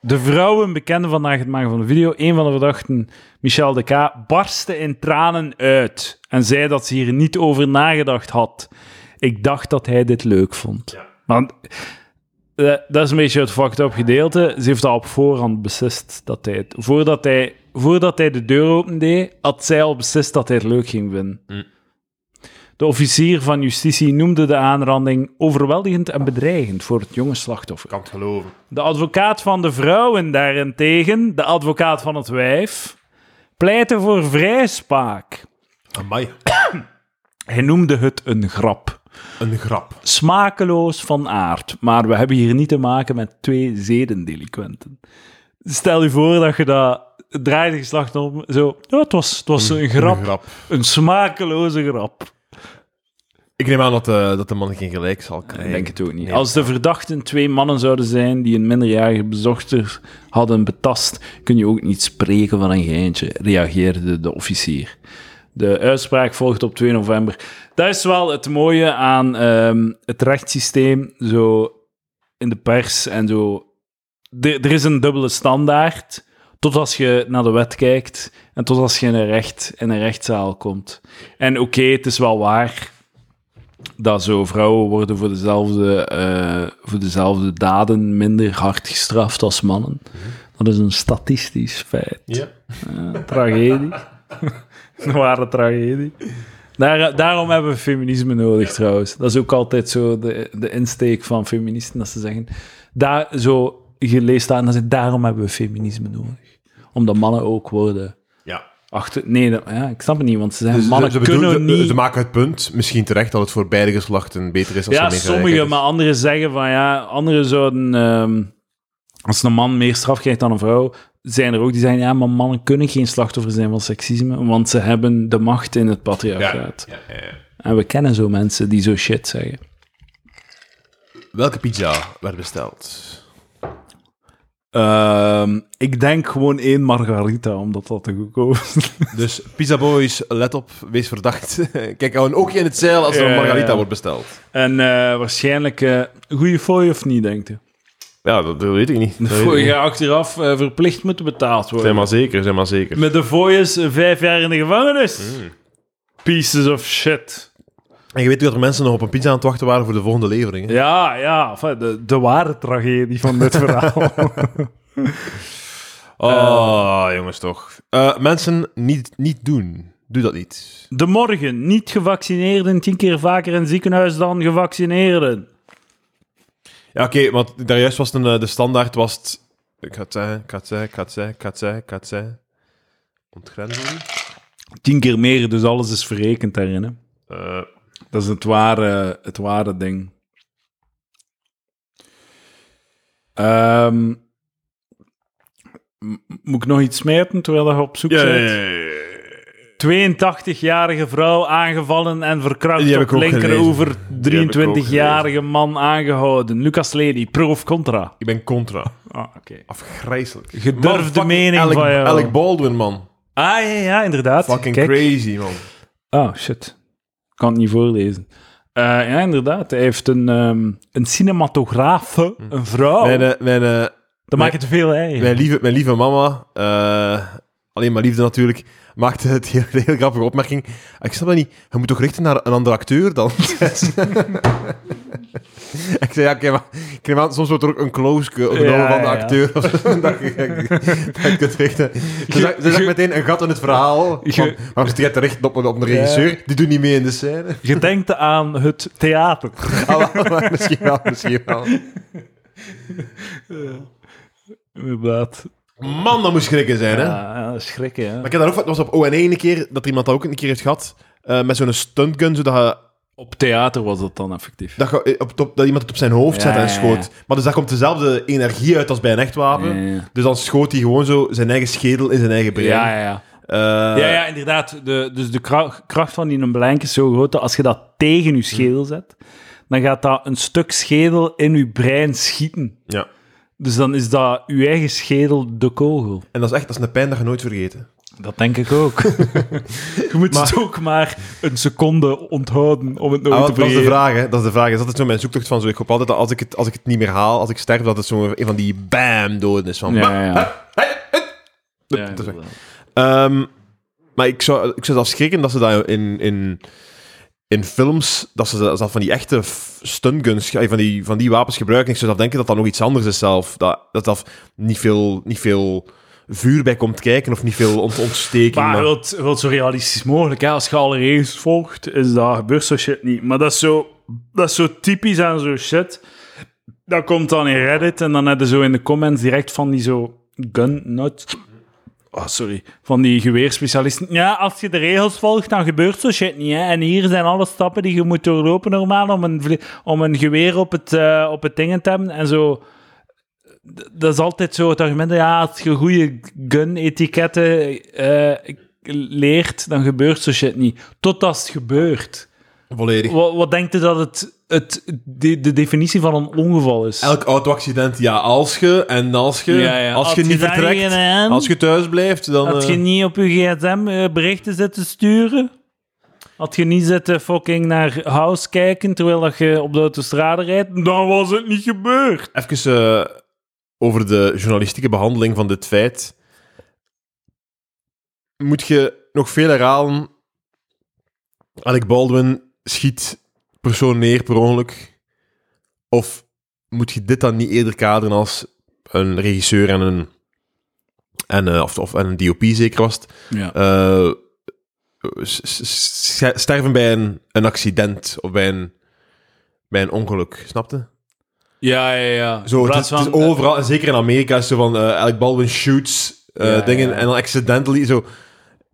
Speaker 1: De vrouwen bekenden vandaag het maken van de video. Een van de verdachten, Michel de K., barstte in tranen uit en zei dat ze hier niet over nagedacht had. Ik dacht dat hij dit leuk vond. Want eh, dat is een beetje het fucked up gedeelte. Ze heeft al op voorhand beslist dat hij het... Voordat hij, voordat hij de deur opende, had zij al beslist dat hij het leuk ging vinden. De officier van justitie noemde de aanranding overweldigend en bedreigend voor het jonge slachtoffer.
Speaker 2: Kan het geloven.
Speaker 1: De advocaat van de vrouwen daarentegen, de advocaat van het wijf, pleitte voor vrijspraak.
Speaker 2: Amai.
Speaker 1: Hij noemde het een grap.
Speaker 2: Een grap.
Speaker 1: Smakeloos van aard, maar we hebben hier niet te maken met twee zedendelinquenten. Stel je voor dat je dat draait je geslacht om, zo, ja, het was, het was een grap,
Speaker 2: Een grap.
Speaker 1: een smakeloze grap.
Speaker 2: Ik neem aan dat de, dat de man geen gelijk zal krijgen.
Speaker 1: Ik het ook niet.
Speaker 2: Nee.
Speaker 1: Als de verdachten twee mannen zouden zijn die een minderjarige bezochter hadden betast, kun je ook niet spreken van een geintje, reageerde de officier. De uitspraak volgt op 2 november. Dat is wel het mooie aan ehm, het rechtssysteem, zo in de pers en zo. Er, er is een dubbele standaard, tot als je naar de wet kijkt en tot als je in een, recht, in een rechtszaal komt. En oké, het is wel waar dat zo vrouwen worden voor dezelfde, eh, voor dezelfde daden minder hard gestraft als mannen. Dat is een statistisch feit.
Speaker 2: Ja.
Speaker 1: Eh, tragedie. [laughs] een ware tragedie. Daar, daarom hebben we feminisme nodig trouwens. Dat is ook altijd zo de, de insteek van feministen, dat ze zeggen... Daar, zo, je leest daar en dan zegt, daarom hebben we feminisme nodig. Omdat mannen ook worden...
Speaker 2: ja.
Speaker 1: Achter, nee, dat- ja, ik snap het niet, want ze zeggen,
Speaker 2: Dus
Speaker 1: mannen
Speaker 2: ze, ze
Speaker 1: kunnen
Speaker 2: bedoelen- ze-
Speaker 1: niet...
Speaker 2: ze maken het punt, misschien terecht, dat het voor beide geslachten beter is als
Speaker 1: Ja,
Speaker 2: er meer gelijkheid
Speaker 1: sommigen,
Speaker 2: is.
Speaker 1: maar anderen zeggen van ja, anderen zouden. ehm, als een man meer straf krijgt dan een vrouw, zijn er ook die zeggen ja, maar mannen kunnen geen slachtoffer zijn van seksisme, want ze hebben de macht in het patriarchaat.
Speaker 2: Ja. Ja, ja, ja.
Speaker 1: En we kennen zo mensen die zo shit zeggen.
Speaker 2: Welke pizza werd besteld?
Speaker 1: Ehm, ik denk gewoon één margarita, omdat dat te goedkoop is.
Speaker 2: Dus Pizza Boys, let op, wees verdacht. [laughs] Kijk, hou een oogje in het zeil als er
Speaker 1: Ja,
Speaker 2: een
Speaker 1: ja,
Speaker 2: margarita
Speaker 1: ja.
Speaker 2: wordt besteld.
Speaker 1: [laughs] En eh, waarschijnlijk eh goede fooi of niet, denkt u?
Speaker 2: Ja, dat, dat weet ik niet.
Speaker 1: De
Speaker 2: Dat weet ik
Speaker 1: fooi
Speaker 2: niet.
Speaker 1: gaat achteraf eh, verplicht moeten betaald worden.
Speaker 2: Zijn maar zeker, zijn maar zeker.
Speaker 1: Met de fooi is eh, vijf jaar in de gevangenis. Hmm. Pieces of shit.
Speaker 2: En je weet ook dat er mensen nog op een pizza aan het wachten waren voor de volgende levering. hè?
Speaker 1: Ja, ja, enfin, de, de ware tragedie van dit [laughs] verhaal.
Speaker 2: Oh, jongens toch. Eh, mensen, niet, niet doen. Doe dat niet.
Speaker 1: de morgen, niet gevaccineerden tien keer vaker in het ziekenhuis dan gevaccineerden.
Speaker 2: Ja, oké, want daarjuist was het een, eh, de standaard was het... Ik ga het zeggen, ik ga het zeggen, ik ga het zeggen, ik ga het zeggen, ik ga het zeggen. Ontgrenzen?
Speaker 1: Tien keer meer, dus alles is verrekend daarin. Hè?
Speaker 2: Eh,
Speaker 1: Dat is het ware, het ware ding. Ehm, m- moet ik nog iets smijten terwijl je op zoek
Speaker 2: ja, ja,
Speaker 1: bent?
Speaker 2: ja, ja.
Speaker 1: 82-jarige vrouw aangevallen en
Speaker 2: Die
Speaker 1: verkracht
Speaker 2: heb
Speaker 1: op
Speaker 2: ik ook
Speaker 1: linkeroever.
Speaker 2: Die heb ik ook
Speaker 1: 23-jarige man aangehouden. Lucas Lely, pro of contra?
Speaker 2: Ik ben contra.
Speaker 1: Ah, oké.
Speaker 2: Afgrijzelijk.
Speaker 1: Gedurfde
Speaker 2: Man, fucking
Speaker 1: mening
Speaker 2: Alec,
Speaker 1: van jou.
Speaker 2: Alec Baldwin, man.
Speaker 1: Ah, ja, ja, inderdaad.
Speaker 2: Fucking
Speaker 1: Kijk.
Speaker 2: crazy, man.
Speaker 1: Oh, shit. Ik kan het niet voorlezen. Eh, ja, inderdaad. Hij heeft een, ehm een cinematograaf, een vrouw.
Speaker 2: Mijn, eh, mijn, eh,
Speaker 1: Dat maakt het veel eigen.
Speaker 2: mijn, lieve, mijn lieve mama, eh, alleen maar liefde natuurlijk, maakte het heel, [laughs] heel grappige opmerking. Ik snap dat niet. Je moet toch richten naar een andere acteur dan? [laughs] ik zei, ja, oké, maar ik neem aan, soms wordt er ook een close genomen
Speaker 1: Ja,
Speaker 2: van de
Speaker 1: ja, ja.
Speaker 2: acteur. [laughs] of zo, dat, je, dat je kunt richten. Ze zag, ze zag
Speaker 1: je-
Speaker 2: meteen een gat in het verhaal.
Speaker 1: Je-
Speaker 2: Van, waarom zit jij te richten op, een- op een regisseur? Die doet niet mee in de scène. [laughs]
Speaker 1: Je denkt aan het theater.
Speaker 2: Ah, wel, maar misschien wel, misschien wel.
Speaker 1: Inderdaad.
Speaker 2: Man, dat moet schrikken zijn, hè?
Speaker 1: Ja, ja, schrikken, hè.
Speaker 2: Maar ik heb daar ook, het was op ON1 een keer, dat er iemand dat ook een keer heeft gehad, eh, met zo'n stuntgun, zodat je,
Speaker 1: Op theater was dat dan effectief.
Speaker 2: dat, je eh, op, top- dat iemand het op zijn hoofd
Speaker 1: Ja,
Speaker 2: zet en
Speaker 1: ja, ja.
Speaker 2: schoot. Maar dus daar komt dezelfde energie uit als bij een echt wapen.
Speaker 1: Ja,
Speaker 2: Dus dan schoot hij gewoon zo zijn eigen schedel in zijn eigen brein.
Speaker 1: ja, ja. ja.
Speaker 2: Eh,
Speaker 1: Ja, ja, inderdaad. De, dus de kra- kracht van die blank is zo groot dat als je dat tegen je schedel zet, dan gaat dat een stuk schedel in je brein schieten.
Speaker 2: ja.
Speaker 1: Dus dan is dat je eigen schedel de kogel.
Speaker 2: En dat is echt dat is een pijn dat je nooit vergeten.
Speaker 1: Dat denk ik ook. [laughs] je moet het ook maar een seconde onthouden om het nooit
Speaker 2: Ah,
Speaker 1: te
Speaker 2: wat- dat is de
Speaker 1: vergeten.
Speaker 2: vraag, hè. Dat is de vraag. Is altijd zo mijn zoektocht van zo, ik hoop altijd dat als ik het, als ik het niet meer haal, als ik sterf, dat het zo een van die bam-doden is. Van, bam.
Speaker 1: Ja, ja, ja. Ja,
Speaker 2: dat is waar.
Speaker 1: inderdaad.
Speaker 2: Ehm, maar ik zou, ik zou zelfs schrikken dat ze dat in, in, in films, dat ze dat van die echte f- stunguns, eh, van die, van die wapens gebruiken. Ik zou zelf denken dat dat nog iets anders is zelf. Dat dat, zelf niet veel, niet veel vuur bij komt kijken of niet veel ont ontsteking.
Speaker 1: Maar
Speaker 2: maar-
Speaker 1: wilt, wilt zo realistisch mogelijk. Hè? Als je alle regels volgt, is dat gebeurt zo shit niet. Maar dat is zo, dat is zo typisch aan zo'n shit. Dat komt dan in Reddit en dan hebben ze zo in de comments direct van die zo gun nuts. Oh, sorry. Van die geweerspecialisten. Ja, als je de regels volgt, dan gebeurt zo shit niet. Hè? En hier zijn alle stappen die je moet doorlopen normaal om een, vlie- om een geweer op het, eh, op het ding te hebben. En zo dat is altijd zo het argument. Ja, als je goede gun-etiketten eh, leert, dan gebeurt zo shit niet. Totdat het gebeurt.
Speaker 2: Volledig.
Speaker 1: Wat, wat denkt u dat het, het de, de definitie van een ongeval is?
Speaker 2: Elk auto-accident, ja, als je en als je.
Speaker 1: Ja, ja.
Speaker 2: Als je
Speaker 1: Had
Speaker 2: niet
Speaker 1: je daar
Speaker 2: vertrekt,
Speaker 1: geen aan?
Speaker 2: als je thuis blijft, dan.
Speaker 1: Had
Speaker 2: eh,
Speaker 1: je niet op je gsm eh, berichten zitten sturen? Had je niet zitten fucking naar house kijken terwijl dat je op de autostrade rijdt? Dan was het niet gebeurd.
Speaker 2: Even eh, over de journalistieke behandeling van dit feit. Moet je nog veel herhalen? Alec Baldwin schiet persoon neer per ongeluk. Of moet je dit dan niet eerder kaderen als een regisseur en een, en, eh, of, of, en een DOP zeker was het,
Speaker 1: Ja.
Speaker 2: eh, s- s- s- sterven bij een, een accident of bij een, bij een ongeluk, snapte?
Speaker 1: Ja, ja, ja.
Speaker 2: Zo, het is, het is
Speaker 1: eh,
Speaker 2: overal, en zeker in Amerika, is zo van eh Alec Baldwin shoots eh,
Speaker 1: Ja,
Speaker 2: dingen
Speaker 1: ja.
Speaker 2: en dan accidentally zo.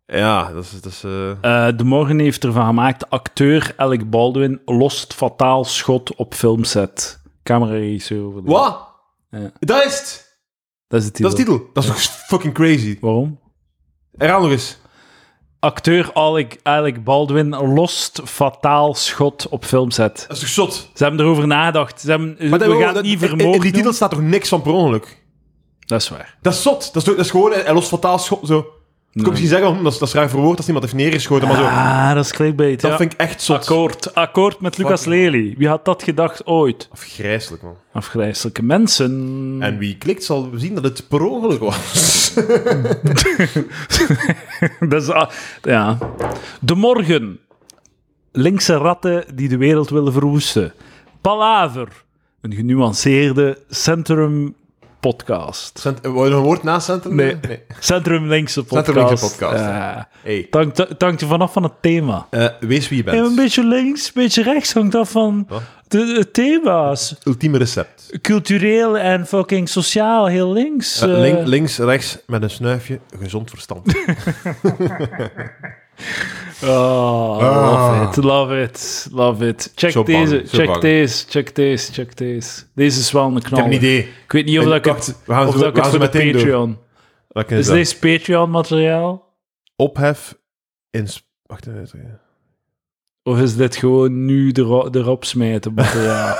Speaker 2: Ja, dat is. Dat is eh,
Speaker 1: Eh, de Morgen heeft ervan gemaakt, acteur Alec Baldwin lost fataal schot op filmset. Cameraregisseur over de...
Speaker 2: Wat?
Speaker 1: Ja.
Speaker 2: Dat is het!
Speaker 1: Dat is de titel.
Speaker 2: Dat is de titel. Dat is toch fucking crazy.
Speaker 1: Waarom?
Speaker 2: Herhaal nog eens.
Speaker 1: Acteur Alec, Alec Baldwin lost fataal schot op filmset.
Speaker 2: Dat is toch zot?
Speaker 1: Ze hebben erover nagedacht. Ze hebben, we
Speaker 2: dat-
Speaker 1: gaan
Speaker 2: dat-
Speaker 1: het niet
Speaker 2: in-
Speaker 1: vermogen
Speaker 2: In die titel
Speaker 1: doen.
Speaker 2: staat toch niks van per ongeluk?
Speaker 1: Dat is waar.
Speaker 2: Dat is zot. Dat is, toch- dat is gewoon, hij lost fataal schot zo. Ik
Speaker 1: Nee.
Speaker 2: kan misschien zeggen, hm, dat is, dat is raar verwoord als iemand heeft neergeschoten, maar zo.
Speaker 1: Ah, dat is clickbait.
Speaker 2: dat
Speaker 1: ja.
Speaker 2: vind ik echt zot.
Speaker 1: Akkoord. Akkoord met Lucas
Speaker 2: Fucking-
Speaker 1: Lely. Wie had dat gedacht ooit?
Speaker 2: Afgrijselijk, man.
Speaker 1: Afgrijzelijke mensen.
Speaker 2: En wie klikt zal zien dat het per ongeluk was. [laughs]
Speaker 1: Dat is, ah, ja. De morgen. Linkse ratten die de wereld willen verwoesten. Palaver. Een genuanceerde centrum-podcast.
Speaker 2: Cent- Wou je nog een woord naast centrum?
Speaker 1: Nee. Centrum-linkse podcast.
Speaker 2: Centrum-linkse podcast,
Speaker 1: Ja.
Speaker 2: Hey.
Speaker 1: Het hangt- het hangt er vanaf van het thema.
Speaker 2: Eh, wees wie je bent.
Speaker 1: En een beetje links, een beetje rechts hangt af van
Speaker 2: Wat?
Speaker 1: de, de thema's.
Speaker 2: Ultieme recept.
Speaker 1: Cultureel en fucking sociaal heel links.
Speaker 2: Eh,
Speaker 1: eh.
Speaker 2: link- links, rechts, met een snuifje, gezond verstand.
Speaker 1: Oh, love it, love it, love it. Check
Speaker 2: Ah. Zo bang,
Speaker 1: deze,
Speaker 2: zo
Speaker 1: check
Speaker 2: bang.
Speaker 1: deze, check deze, check deze. Deze is wel een knal.
Speaker 2: heb een idee.
Speaker 1: Ik weet niet of
Speaker 2: En
Speaker 1: dat ik
Speaker 2: wacht,
Speaker 1: het,
Speaker 2: we gaan
Speaker 1: of
Speaker 2: ze-
Speaker 1: dat ik
Speaker 2: we
Speaker 1: het
Speaker 2: gaan
Speaker 1: voor
Speaker 2: ze
Speaker 1: de
Speaker 2: meteen doen.
Speaker 1: Patreon.
Speaker 2: Wat is
Speaker 1: Is
Speaker 2: dat?
Speaker 1: deze Patreon materiaal?
Speaker 2: Ophef in... Sp- Wacht even.
Speaker 1: Of is dit gewoon nu ero- erop smijten
Speaker 2: [laughs]
Speaker 1: materiaal?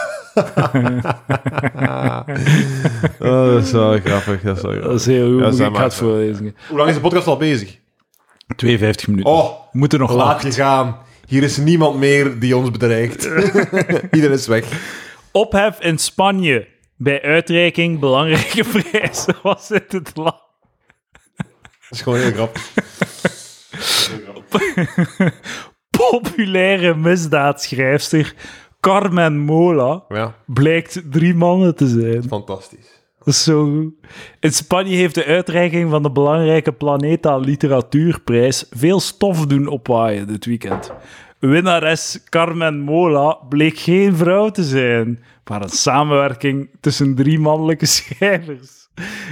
Speaker 2: Oh, dat is wel grappig. Dat is wel
Speaker 1: Dat is heel goed.
Speaker 2: Ja,
Speaker 1: ik
Speaker 2: zeg
Speaker 1: ga
Speaker 2: maar.
Speaker 1: het voorlezen.
Speaker 2: Hoe lang is de podcast al bezig?
Speaker 1: 52 minuten.
Speaker 2: Oh,
Speaker 1: We moeten nog
Speaker 2: laat je gaan. Hier is niemand meer die ons bedreigt. [laughs] Iedereen is weg.
Speaker 1: Ophef in Spanje. Bij uitreiking belangrijke [laughs] prijzen was dit het land.
Speaker 2: Dat is gewoon heel grappig.
Speaker 1: Populaire misdaadschrijfster Carmen Mola
Speaker 2: Ja,
Speaker 1: blijkt drie mannen te zijn.
Speaker 2: fantastisch.
Speaker 1: Dat is zo goed. In Spanje heeft de uitreiking van de belangrijke Planeta Literatuurprijs veel stof doen opwaaien dit weekend. Winnares Carmen Mola bleek geen vrouw te zijn, maar een samenwerking tussen drie mannelijke schrijvers.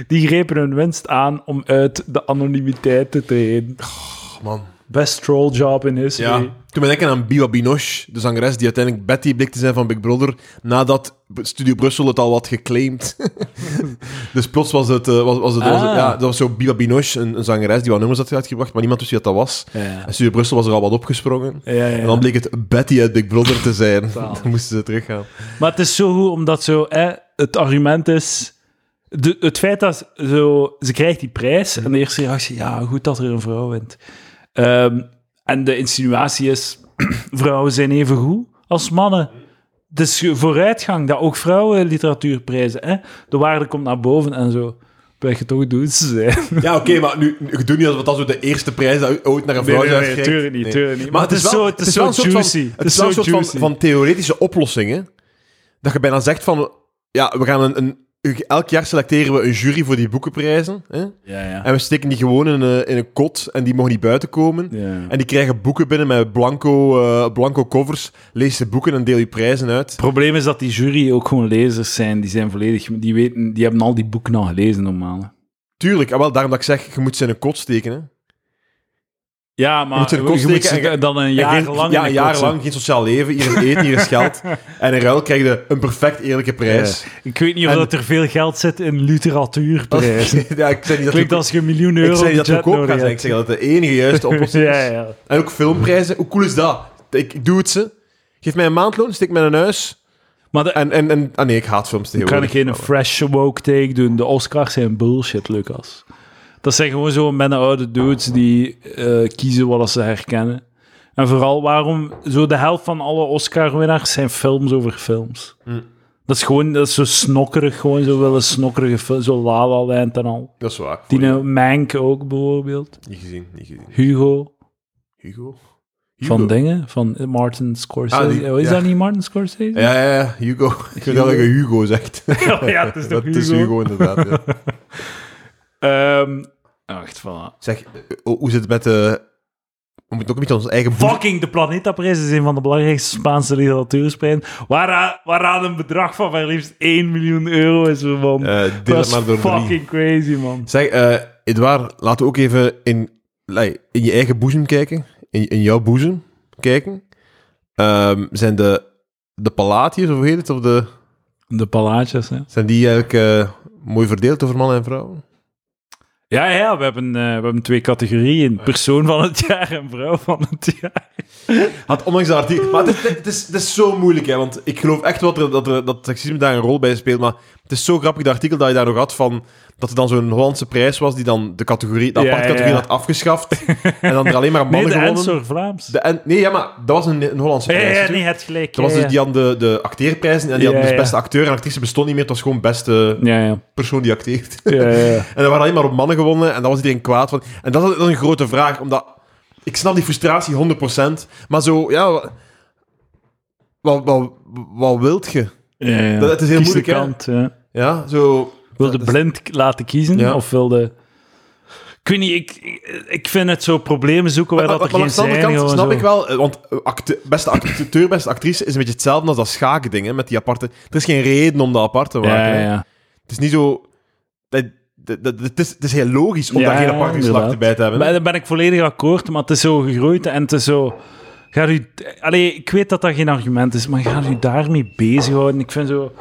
Speaker 1: Die grepen hun winst aan om uit de anonimiteit te treden.
Speaker 2: Oh, man.
Speaker 1: Best troll job in
Speaker 2: Ja.
Speaker 1: history.
Speaker 2: Toen ben ik aan Biwa Binoche, de zangeres die uiteindelijk Betty bleek te zijn van Big Brother, nadat B- Studio Brussel het al had geclaimd. [laughs] dus plots was het, eh, was, was het, was het-
Speaker 1: Ah.
Speaker 2: ja, dat was zo Biwa Binoche, een, een zangeres die wat nummers had uitgebracht, maar niemand wist wie dat was.
Speaker 1: Ja.
Speaker 2: En Studio Brussel was er al wat opgesprongen.
Speaker 1: Ja, ja.
Speaker 2: En dan bleek het Betty uit Big Brother te zijn.
Speaker 1: Zalig.
Speaker 2: [laughs] dan moesten ze teruggaan.
Speaker 1: Maar het is zo goed, omdat zo, hè, het argument is... De, het feit dat zo, ze krijgt die prijs en de eerste reactie, ja, goed dat er een vrouw wint. Ehm, en de insinuatie is, [clears throat] vrouwen zijn even goed als mannen. Het is vooruitgang dat ook vrouwen literatuurprijzen, hè, de waarde komt naar boven en zo. Ben je toch doen ze zijn.
Speaker 2: Ja, oké, maar nu, nu- je doet niet alsof dat zo de eerste prijs dat ooit naar een
Speaker 1: Nee,
Speaker 2: vrouw
Speaker 1: nee,
Speaker 2: is
Speaker 1: nee,
Speaker 2: uitgereikt.
Speaker 1: tuurlijk niet, tuurlijk niet.
Speaker 2: Maar het is wel
Speaker 1: zo-
Speaker 2: het is wel een soort
Speaker 1: juicy.
Speaker 2: van-
Speaker 1: Het
Speaker 2: het is wel een
Speaker 1: zo
Speaker 2: soort van-
Speaker 1: juicy.
Speaker 2: van theoretische oplossingen. Dat je bijna zegt van... Ja, we gaan een, een, elk jaar selecteren we een jury voor die boekenprijzen. Hè?
Speaker 1: [laughs] Ja, ja.
Speaker 2: En we steken die gewoon in een, in een kot en die mogen niet buiten komen.
Speaker 1: ja.
Speaker 2: En die krijgen boeken binnen met blanco, eh, blanco covers. Lees de boeken en deel je prijzen uit.
Speaker 1: Het probleem is dat die jury ook gewoon lezers zijn. Die zijn volledig... Die, weten, die hebben al die boeken al gelezen, normaal. hè.
Speaker 2: Tuurlijk, ah, wel, daarom dat ik zeg, je moet ze in een kot steken. Hè?
Speaker 1: Ja, maar
Speaker 2: moet er
Speaker 1: je
Speaker 2: kost
Speaker 1: moet
Speaker 2: steken
Speaker 1: ze
Speaker 2: en ge-
Speaker 1: eh, dan een
Speaker 2: En
Speaker 1: jaar
Speaker 2: geen-
Speaker 1: lang...
Speaker 2: Ja,
Speaker 1: in
Speaker 2: een
Speaker 1: de
Speaker 2: jaar
Speaker 1: kosten.
Speaker 2: lang. Geen sociaal leven, hier is eten, hier is geld. En in ruil krijg je een perfect eerlijke prijs.
Speaker 1: Ik weet niet of
Speaker 2: En-
Speaker 1: dat er veel geld zit in
Speaker 2: Als-
Speaker 1: literatuurprijzen.
Speaker 2: [laughs] Oh, ja, ik zei niet dat
Speaker 1: [laughs] Klinkt
Speaker 2: we-
Speaker 1: als je een miljoen euro
Speaker 2: ik zei niet dat we
Speaker 1: budget
Speaker 2: goedkoop
Speaker 1: nodig
Speaker 2: gaan zijn.
Speaker 1: hebt.
Speaker 2: Ik zeg dat het de enige
Speaker 1: [laughs]
Speaker 2: juiste oplossing is.
Speaker 1: Ja, ja.
Speaker 2: En ook filmprijzen. Hoe cool is dat? Ik, ik doe het ze. Geef mij een maandloon, steek mij een huis.
Speaker 1: Maar de-
Speaker 2: En, en, en, ah Oh. nee, ik haat films
Speaker 1: dan kan ik geen
Speaker 2: tegenwoordig.
Speaker 1: fresh woke take doen. De Oscars zijn bullshit, Lucas. Dat zijn gewoon zo'n mannen oude dudes die eh, kiezen wat ze herkennen. En vooral waarom... Zo de helft van alle Oscar-winnaars zijn films over films. Dat is gewoon dat is zo snokkerig, gewoon zo willen snokkerige films. Zo La La Land en al.
Speaker 2: Dat is waar.
Speaker 1: Die
Speaker 2: Goeie.
Speaker 1: Mank ook bijvoorbeeld.
Speaker 2: Niet gezien, niet gezien.
Speaker 1: Hugo.
Speaker 2: Hugo?
Speaker 1: Van
Speaker 2: Hugo.
Speaker 1: dingen, van Martin Scorsese.
Speaker 2: Ah, die-
Speaker 1: Oh, is
Speaker 2: ja.
Speaker 1: dat niet Martin Scorsese?
Speaker 2: Ja, ja, ja, Hugo. Ik weet dat je Hugo
Speaker 1: [laughs]
Speaker 2: zegt.
Speaker 1: Oh ja, het is toch
Speaker 2: dat is
Speaker 1: Hugo?
Speaker 2: Hugo, inderdaad. ja.
Speaker 1: Ehm, wacht, voilà.
Speaker 2: Zeg, eh, oh, hoe zit het met de... we moeten ook een beetje onze eigen... boer-
Speaker 1: Fucking de Planetaprijs is een van de belangrijkste Spaanse literatuursprijzen, waara- waaraan een bedrag van maar liefst 1 miljoen euro is verbonden.
Speaker 2: eh deel
Speaker 1: dat
Speaker 2: het
Speaker 1: is
Speaker 2: maar door drie.
Speaker 1: fucking crazy, man.
Speaker 2: Zeg, eh Edouard, laten we ook even in, like, in je eigen boezem kijken. In, in jouw boezem kijken. Ehm, zijn de, de palatiers, of hoe heet het? Of de,
Speaker 1: De palaatjes, hè.
Speaker 2: zijn die eigenlijk eh, mooi verdeeld over mannen en vrouwen?
Speaker 1: Ja, ja, we hebben, eh, we hebben twee categorieën.
Speaker 2: Eh.
Speaker 1: Persoon van het jaar en vrouw van het jaar.
Speaker 2: Had ondanks dat artikel... Maar het is, het is, het is zo moeilijk, hè. Want ik geloof echt wel dat, er- dat, er- dat seksisme daar een rol bij speelt. Maar het is zo grappig, dat artikel dat je daar nog had van... Dat er dan zo'n Hollandse prijs was die dan de categorie... De
Speaker 1: Ja,
Speaker 2: aparte categorie
Speaker 1: ja.
Speaker 2: had
Speaker 1: [laughs]
Speaker 2: afgeschaft. en dan er alleen maar
Speaker 1: Nee,
Speaker 2: mannen
Speaker 1: de
Speaker 2: gewonnen.
Speaker 1: Ensor Vlaams.
Speaker 2: De en- nee, ja, maar dat was een, een Hollandse
Speaker 1: Ja, ja,
Speaker 2: prijs.
Speaker 1: ja,
Speaker 2: natuurlijk.
Speaker 1: nee, het gelijk.
Speaker 2: Dat was
Speaker 1: ja,
Speaker 2: dus die aan de, de acteerprijzen en die
Speaker 1: Ja,
Speaker 2: hadden dus
Speaker 1: ja.
Speaker 2: beste acteur en actrice bestond niet meer. Het was gewoon beste
Speaker 1: ja. Ja,
Speaker 2: persoon die acteert. [laughs]
Speaker 1: ja. ja, ja.
Speaker 2: En er waren alleen maar op mannen gewonnen en daar was iedereen kwaad van. En dat is dat is een grote vraag, omdat ik snap die frustratie 100%, maar zo, ja, wa- wat, wat, wat wilt je?
Speaker 1: Ja, ja.
Speaker 2: Dat- het is heel
Speaker 1: Kies de
Speaker 2: moeilijk, hè?
Speaker 1: kant, ja.
Speaker 2: Ja, zo.
Speaker 1: Wilde
Speaker 2: Dat is-
Speaker 1: blind k- laten kiezen?
Speaker 2: Ja.
Speaker 1: Of wilde... Ik weet niet, ik, ik- ik vind het zo problemen zoeken waar
Speaker 2: Maar-
Speaker 1: dat er
Speaker 2: maar
Speaker 1: geen
Speaker 2: langs de andere
Speaker 1: zijn.
Speaker 2: kant
Speaker 1: gewoon
Speaker 2: snap
Speaker 1: zo.
Speaker 2: ik wel, eh, want eh, acte- beste acteur, beste actrice is een beetje hetzelfde als dat schaakding, hè, met die aparte... Er is geen reden om dat apart te maken.
Speaker 1: Ja,
Speaker 2: hè.
Speaker 1: ja, ja.
Speaker 2: Het is niet zo... dat- dat- dat- Het is, het is heel logisch om
Speaker 1: Ja,
Speaker 2: daar geen aparte
Speaker 1: inderdaad.
Speaker 2: geslachten bij te hebben.
Speaker 1: Maar daar ben ik volledig akkoord, maar het is zo gegroeid en het is zo... Gaat u, allee, ik weet dat dat geen argument is, maar gaat u daarmee bezighouden? Ik vind zo...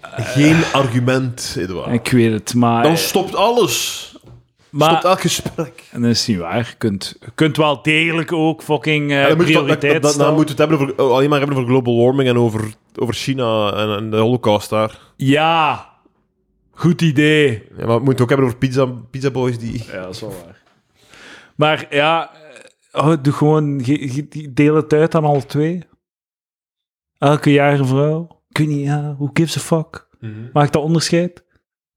Speaker 1: eh,
Speaker 2: Geen argument, Edouard.
Speaker 1: Ik weet het, maar...
Speaker 2: Dan stopt alles.
Speaker 1: maar
Speaker 2: stopt elk gesprek.
Speaker 1: en dat is niet waar. Je kunt, je kunt wel degelijk ook fucking eh
Speaker 2: dan moet je toch-
Speaker 1: prioriteit
Speaker 2: dan- dan- dan
Speaker 1: stellen.
Speaker 2: moeten we het hebben over, oh, alleen maar hebben over global warming en over, over China en, en de holocaust daar.
Speaker 1: Ja, goed idee.
Speaker 2: Ja, maar we moeten het ook hebben over pizza, pizza boys die...
Speaker 1: Ja, dat is wel waar. Maar ja, eh, oh, doe gewoon, ge- ge- deel het uit aan alle twee. Elke jaar een vrouw. Ik weet niet, ja, who gives a fuck? Maakt dat onderscheid?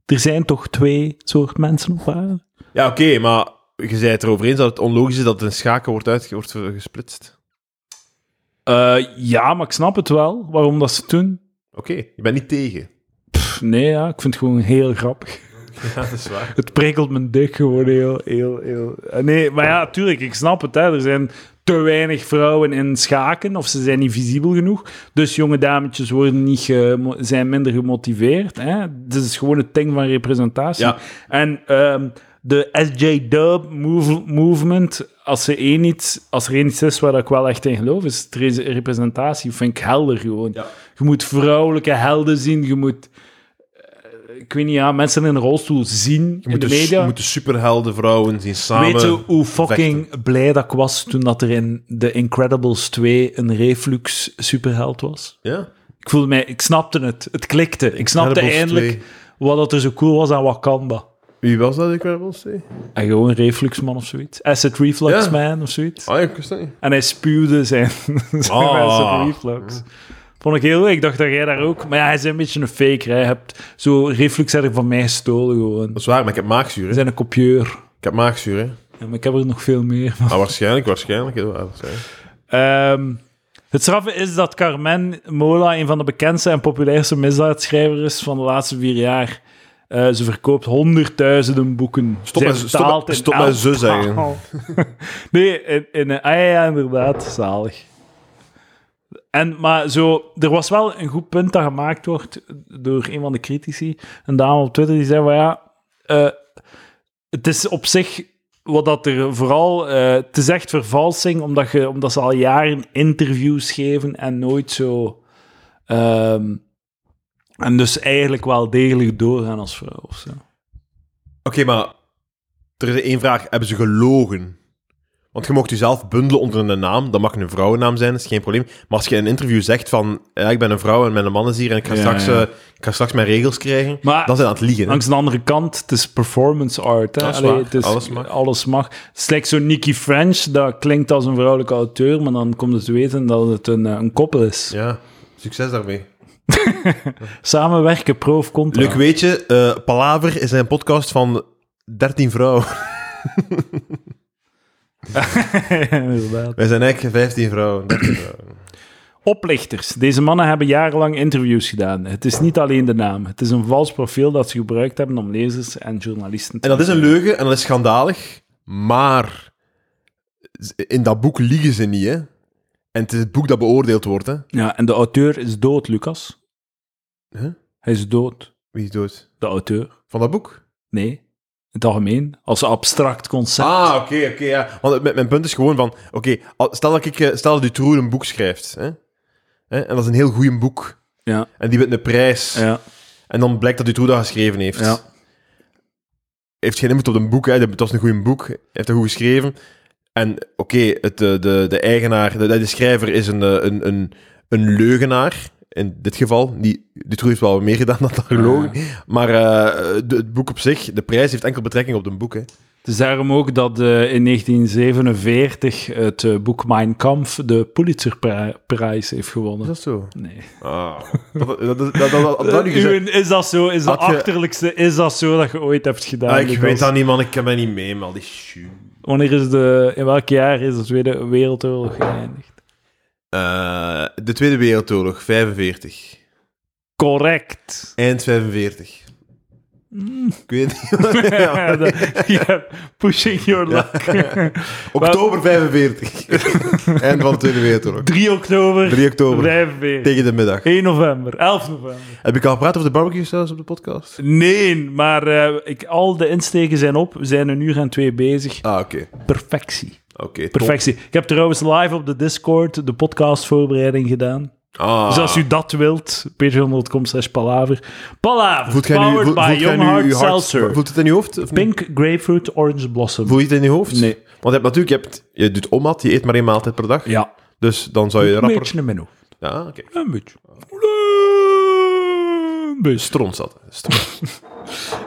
Speaker 1: Er zijn toch twee soort mensen op aarde?
Speaker 2: Ja, oké, maar je zei het erover eens dat het onlogisch is dat het in schaken wordt, uitge- wordt gesplitst.
Speaker 1: Eh, ja, maar ik snap het wel, waarom dat ze het doen.
Speaker 2: Oké, je bent niet
Speaker 1: [laughs]
Speaker 2: tegen.
Speaker 1: Pff, nee, ja, ik vind het gewoon heel grappig.
Speaker 2: Ja, dat is waar.
Speaker 1: Het prikkelt mijn dik gewoon heel, heel, heel... Eh, Nee, maar ja, tuurlijk, ik snap het. Hè. Er zijn te weinig vrouwen in schaken, of ze zijn niet visibel genoeg. Dus jonge dametjes worden niet gemo- zijn minder gemotiveerd. Hè. Dit is gewoon het ding van representatie.
Speaker 2: Ja.
Speaker 1: En ehm, de SJ-dub move- movement, als, ze één iets, als er één iets is waar ik wel echt in geloof, is het re- representatie. Vind ik helder gewoon.
Speaker 2: Ja.
Speaker 1: Je moet vrouwelijke helden zien, je moet... eh, Ik weet niet, ja, mensen in een rolstoel zien
Speaker 2: Je
Speaker 1: in
Speaker 2: moet
Speaker 1: de
Speaker 2: de,
Speaker 1: media.
Speaker 2: je moet de superhelden vrouwen zien samen.
Speaker 1: Weet je hoe fucking blij dat ik was toen dat er in The Incredibles 2 een reflux superheld was?
Speaker 2: Ja?
Speaker 1: Ik voelde mij, ik snapte het, het klikte. Ik snapte
Speaker 2: Incredibles
Speaker 1: eindelijk
Speaker 2: 2.
Speaker 1: wat dat er zo cool was aan Wakanda.
Speaker 2: Wie was dat, Incredibles 2?
Speaker 1: En gewoon refluxman of zoiets. Acid reflux
Speaker 2: Ja.
Speaker 1: man of zoiets.
Speaker 2: Ah ja, ik wist dat niet.
Speaker 1: En hij spuwde zijn, [laughs] zijn
Speaker 2: Ah.
Speaker 1: acid reflux. Vond ik heel leuk. Ik dacht dat jij daar ook... Maar ja, hij is een beetje een fake. Hij hebt zo reflux heb ik van mij gestolen gewoon.
Speaker 2: Dat is waar, maar ik heb maagzuur, hè.
Speaker 1: Hij zijn een kopieur.
Speaker 2: Ik heb maagzuur,
Speaker 1: [laughs]
Speaker 2: hè.
Speaker 1: Ja, maar ik heb er nog veel meer van.
Speaker 2: Ah, waarschijnlijk, waarschijnlijk. hè. Ja, waarschijnlijk.
Speaker 1: Ehm, Het straffe is dat Carmen Mola een van de bekendste en populairste misdaadschrijvers is van de laatste vier jaar. Eh, ze verkoopt honderdduizenden boeken.
Speaker 2: Stop
Speaker 1: Zij
Speaker 2: met- stop
Speaker 1: vertaalt
Speaker 2: met-
Speaker 1: in
Speaker 2: stop met
Speaker 1: elf
Speaker 2: ze zeggen.
Speaker 1: taal. nee, in, in, eh, ah ja, ja, inderdaad, zalig. En, maar zo, er was wel een goed punt dat gemaakt wordt door een van de critici. Een dame op Twitter die zei van ja, eh, het is op zich wat dat er vooral... eh het is echt vervalsing, omdat, je, omdat ze al jaren interviews geven en nooit zo... ehm, en dus eigenlijk wel degelijk doorgaan als vrouw of zo.
Speaker 2: Oké, maar er is één vraag. Hebben ze gelogen? Want je mocht jezelf bundelen onder een naam. Dat mag een vrouwennaam zijn, dat is geen probleem. Maar als je in een interview zegt van... Ja, ik ben een vrouw en mijn man is hier en ik ga,
Speaker 1: Ja,
Speaker 2: straks,
Speaker 1: ja.
Speaker 2: eh, ik ga straks mijn regels krijgen.
Speaker 1: Maar-
Speaker 2: dan zijn ze aan het liegen. hè.
Speaker 1: Langs de andere kant, het is performance art. Hè?
Speaker 2: Dat is
Speaker 1: Allee,
Speaker 2: waar.
Speaker 1: het is,
Speaker 2: Alles mag.
Speaker 1: alles mag. Het is like zo'n Nicky French, dat klinkt als een vrouwelijke auteur, maar dan komt het te weten dat het een, eh, een koppel is.
Speaker 2: Ja, succes daarmee.
Speaker 1: Samenwerken, proof, contra.
Speaker 2: Leuk weetje, eh, Palaver is een podcast van 13 vrouwen. [laughs]
Speaker 1: Inderdaad.
Speaker 2: Wij zijn eigenlijk 15 vrouwen. 13 vrouwen.
Speaker 1: Oplichters. Deze mannen hebben jarenlang interviews gedaan. Het is niet alleen de naam. Het is een vals profiel dat ze gebruikt hebben om lezers en journalisten te...
Speaker 2: En dat is een leugen en dat is schandalig, maar in dat boek liegen ze niet, hè. En het is het boek dat beoordeeld wordt, hè.
Speaker 1: Ja, en de auteur is dood, Lucas.
Speaker 2: Huh?
Speaker 1: Hij is dood,
Speaker 2: Wie is dood?
Speaker 1: de auteur.
Speaker 2: Van dat boek?
Speaker 1: Nee, in het algemeen. Als een abstract concept.
Speaker 2: Ah, oké, oké, ja. Want mijn, mijn punt is gewoon van... Oké, al- stel dat ik... eh, Stel dat Dutroux een boek schrijft, hè. Hè? En dat is een heel goed boek.
Speaker 1: Ja.
Speaker 2: En die wint een prijs.
Speaker 1: Ja,
Speaker 2: En dan blijkt dat Dutroux dat geschreven heeft.
Speaker 1: Ja.
Speaker 2: Heeft geen invloed op een boek, hè. Dat was een goed boek. Hij heeft dat goed geschreven. En oké, het, eh, de, de eigenaar... De, de schrijver is een, eh, een, een, een leugenaar... In dit geval, die, Dutroux heeft wel meer gedaan dan dat gelogen. Maar eh, de- het boek op zich, de prijs heeft enkel betrekking op het boek. Hè.
Speaker 1: Het is daarom ook dat eh, in 1947 het eh, boek Mein Kampf de Pulitzerprijs heeft
Speaker 2: Is
Speaker 1: gewonnen.
Speaker 2: dat zo?
Speaker 1: Nee.
Speaker 2: Ah, dat, dat, dat, dat, dat, dat, dat nu [laughs] gezegd-
Speaker 1: Uwen, is dat zo? Is dat
Speaker 2: Had je-
Speaker 1: achterlijkste? Is dat zo dat je ooit hebt gedaan?
Speaker 2: Ah, ik
Speaker 1: Lucas?
Speaker 2: weet dat niet, man. Ik kan mij niet mee, man. Die shoe.
Speaker 1: Wanneer is de... In welk jaar is de Tweede Wereldoorlog geëindigd?
Speaker 2: Eh, de Tweede Wereldoorlog, 45.
Speaker 1: Correct.
Speaker 2: Eind 45.
Speaker 1: Mm.
Speaker 2: Ik weet
Speaker 1: [laughs]
Speaker 2: het niet. Ja.
Speaker 1: Ja, Pushing your luck.
Speaker 2: Oktober
Speaker 1: [laughs]
Speaker 2: 45. Eind van de Tweede Wereldoorlog.
Speaker 1: 3 oktober
Speaker 2: 3 oktober,
Speaker 1: 45.
Speaker 2: tegen de middag.
Speaker 1: 1 november, 11 november.
Speaker 2: Heb ik al gepraat over de barbecue saus op de podcast?
Speaker 1: Nee, maar eh, ik, al de insteken zijn op. We zijn een uur en twee bezig.
Speaker 2: Ah, oké.
Speaker 1: Perfectie.
Speaker 2: Oké, top.
Speaker 1: Perfectie. Ik heb trouwens live op de Discord de podcastvoorbereiding gedaan.
Speaker 2: Ah.
Speaker 1: Dus als u dat wilt, patreon.com slash palaver. Palaver,
Speaker 2: voelt gij nu,
Speaker 1: powered
Speaker 2: voelt,
Speaker 1: by
Speaker 2: voelt gij
Speaker 1: Young
Speaker 2: nu
Speaker 1: Heart
Speaker 2: uw hart-
Speaker 1: Seltzer.
Speaker 2: Voelt het in uw hoofd? Of niet?
Speaker 1: Pink Grapefruit Orange Blossom.
Speaker 2: Voel je het in je hoofd?
Speaker 1: Nee.
Speaker 2: Want je hebt natuurlijk, je, hebt, je doet omat, je eet maar één maaltijd per dag.
Speaker 1: Ja,
Speaker 2: Dus dan zou je
Speaker 1: een
Speaker 2: rapper...
Speaker 1: beetje een menu.
Speaker 2: Ja, oké. Okay.
Speaker 1: Een beetje. Een beetje.
Speaker 2: Stront zat. Stront.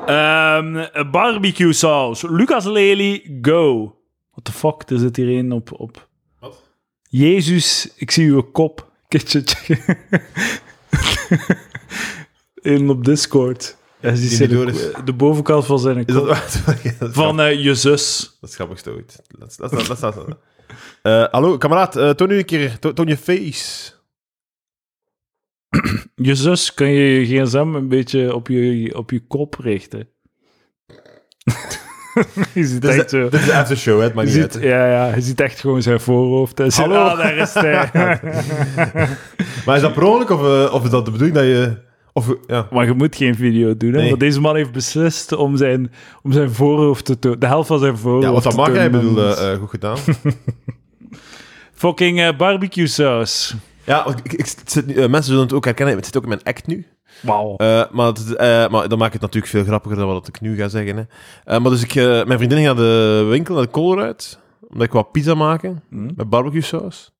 Speaker 1: Ehm, barbecue saus. Lucas Lely, go. What the fuck, er zit hier een op, op.
Speaker 2: Wat?
Speaker 1: Jezus, ik zie uw kop. [laughs] Kitje, tje. In op Discord. Hij ziet
Speaker 2: die
Speaker 1: zijn-
Speaker 2: door is.
Speaker 1: De bovenkant van zijn
Speaker 2: Is
Speaker 1: kop.
Speaker 2: dat [laughs] waar? Ja, dat is
Speaker 1: Van eh, je zus.
Speaker 2: Dat is grappig ooit. Dat is- dat is- dat is- dat is- Eh, Hallo, kameraad. eh, toon nu een keer... to- toon je face.
Speaker 1: Je zus, kun je je gsm een beetje op je, op je kop richten? [laughs] je ziet
Speaker 2: Dit is
Speaker 1: echt
Speaker 2: de,
Speaker 1: zo...
Speaker 2: dit is de after show, hè. Het maakt
Speaker 1: Je
Speaker 2: niet uit.
Speaker 1: ziet, ja, ja, je ziet echt gewoon zijn voorhoofd. En zijn,
Speaker 2: Hallo.
Speaker 1: ah, daar is [laughs] hij.
Speaker 2: Maar is dat per ongeluk of, eh, of is dat de bedoeling dat je... Of, eh, ja.
Speaker 1: Maar je moet geen video doen, hè?
Speaker 2: Nee.
Speaker 1: Want deze man heeft beslist om zijn, om zijn voorhoofd te tonen. De helft van zijn voorhoofd
Speaker 2: ja, wat dat
Speaker 1: te
Speaker 2: mag,
Speaker 1: tonen.
Speaker 2: hè. Ik bedoel, eh, eh, goed gedaan. [laughs]
Speaker 1: Fucking eh, barbecue saus.
Speaker 2: ja, want ik, ik zit, nu- eh, mensen zullen het ook herkennen. Het zit ook in mijn act nu.
Speaker 1: Wauw.
Speaker 2: Eh, maar, het, is- eh, maar dan maakt het natuurlijk veel grappiger dan wat ik nu ga zeggen. Hè. Eh, maar dus ik, eh, mijn vriendin ging naar de winkel, naar de Colruyt, omdat ik wou pizza maken
Speaker 1: Hm.
Speaker 2: met barbecue saus.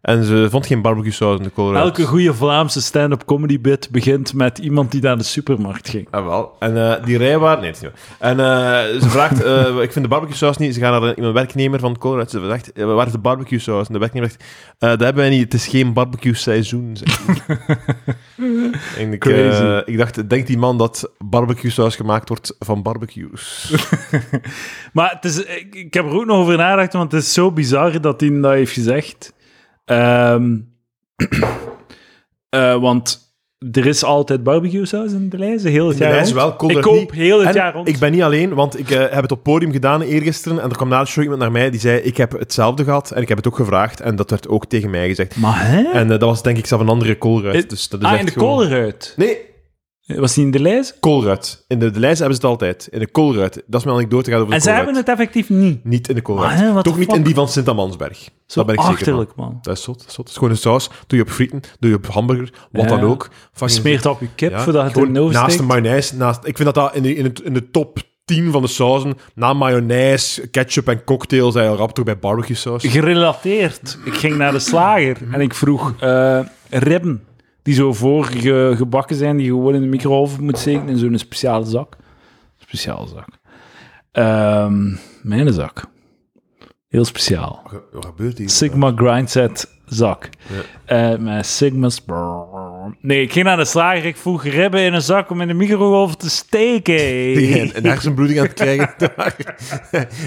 Speaker 2: En ze vond geen barbecue saus in de Colruyt.
Speaker 1: Elke goede Vlaamse stand-up comedy bit begint met iemand die naar de supermarkt ging.
Speaker 2: Ah, wel. En eh, die rij waar... Nee, het is niet waar. En eh, ze vraagt... eh, [laughs] ik vind de barbecue saus niet... Ze gaan naar een, iemand werknemer van Colruyt. Ze zegt, eh, waar is de barbecue saus? En de werknemer zegt, eh, dat hebben wij niet. Het is geen barbecue seizoen. zegt hij.
Speaker 1: [laughs]
Speaker 2: en ik, eh,
Speaker 1: Crazy.
Speaker 2: ik dacht, denkt die man dat barbecue saus gemaakt wordt van barbecues?
Speaker 1: Maar het is, ik, ik heb er ook nog over nagedacht, want het is zo bizar dat hij dat heeft gezegd. Ehm, [clears throat] Eh, want er is altijd barbecue saus in de lijst, heel het
Speaker 2: De
Speaker 1: jaar
Speaker 2: lijst
Speaker 1: rond.
Speaker 2: wel, kon
Speaker 1: Ik
Speaker 2: er
Speaker 1: koop
Speaker 2: niet.
Speaker 1: heel het
Speaker 2: En
Speaker 1: jaar rond.
Speaker 2: Ik ben niet alleen, want ik eh, heb het op podium gedaan eergisteren. En er kwam na de show iemand naar mij die zei: Ik heb hetzelfde gehad. En ik heb het ook gevraagd. En dat werd ook tegen mij gezegd.
Speaker 1: Maar hè?
Speaker 2: En eh, dat was denk ik zelf een andere koolruit.
Speaker 1: Het-
Speaker 2: Dus dat is
Speaker 1: ah,
Speaker 2: echt
Speaker 1: in de
Speaker 2: gewoon-
Speaker 1: koolruit.
Speaker 2: Nee,
Speaker 1: Was die in de lijst?
Speaker 2: koolruit. In de, de lijst hebben ze het altijd. In de koolruit. Dat is mijn anekdote gaat over de
Speaker 1: En ze
Speaker 2: koolruit.
Speaker 1: hebben het effectief niet.
Speaker 2: Niet in de koolruit.
Speaker 1: Ah, hè, what
Speaker 2: Toch
Speaker 1: the
Speaker 2: niet
Speaker 1: fuck?
Speaker 2: in die van Sint-Amansberg.
Speaker 1: Zo
Speaker 2: Dat ben ik zeker van.
Speaker 1: achterlijk, man.
Speaker 2: Dat is zot, dat is zot. Het is gewoon een saus. Doe je op frieten, doe je op hamburger, wat
Speaker 1: Ja.
Speaker 2: dan ook. Fucking-
Speaker 1: Smeert op je kip
Speaker 2: Ja,
Speaker 1: voordat het
Speaker 2: gewoon
Speaker 1: erin
Speaker 2: Naast de
Speaker 1: oversteekt.
Speaker 2: mayonaise. Naast, ik vind dat dat in de, in, het, in de top 10 van de sauzen, na mayonaise, ketchup en cocktail, zijn al rap terug bij barbecue saus.
Speaker 1: Gerelateerd. Ik ging naar de slager en ik vroeg eh, ribben. Die zo voorgebakken zijn, die je gewoon in de microgolf moet steken in zo'n speciale zak. Speciale zak. Ehm, mijn zak. Heel speciaal.
Speaker 2: Wat gebeurt hier?
Speaker 1: Sigma grindset zak. Eh, met Sigma's. Nee, ik ging naar de slager. Ik vroeg ribben in een zak om in de microgolf te
Speaker 2: [laughs]
Speaker 1: steken.
Speaker 2: Een hersenbloeding aan het krijgen.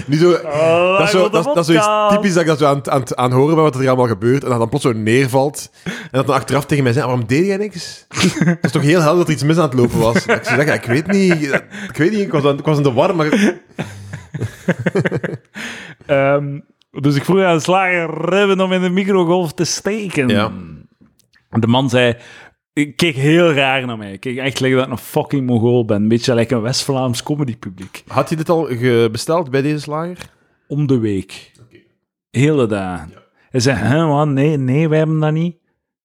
Speaker 2: Niet zo,
Speaker 1: Oh,
Speaker 2: dat, is zo,
Speaker 1: ik wil de
Speaker 2: dat, is- dat is zoiets
Speaker 1: podcast.
Speaker 2: typisch dat ik dat zo aan, het- aan, het- aan het horen ben, wat er allemaal gebeurt. En dat dan plots zo neervalt. En dat dan achteraf tegen mij zegt, "Ah, waarom deed jij [laughs] niks? Het is toch heel helder dat er iets mis aan het lopen was. Dat ik zou zeggen, ik weet niet, ik weet niet, ik was, aan- ik was in de war, maar...
Speaker 1: Ehm, dus ik vroeg aan de slager ribben om in de microgolf te steken.
Speaker 2: Ja.
Speaker 1: De man zei... Ik keek heel raar naar mij. Ik keek echt like dat ik een fucking mongool ben. Een beetje like een West-Vlaams comedypubliek.
Speaker 2: Had je dit al ge- besteld bij deze slager?
Speaker 1: Om de week. Hele dagen. Hij zei, hè man, nee, nee, wij hebben dat niet.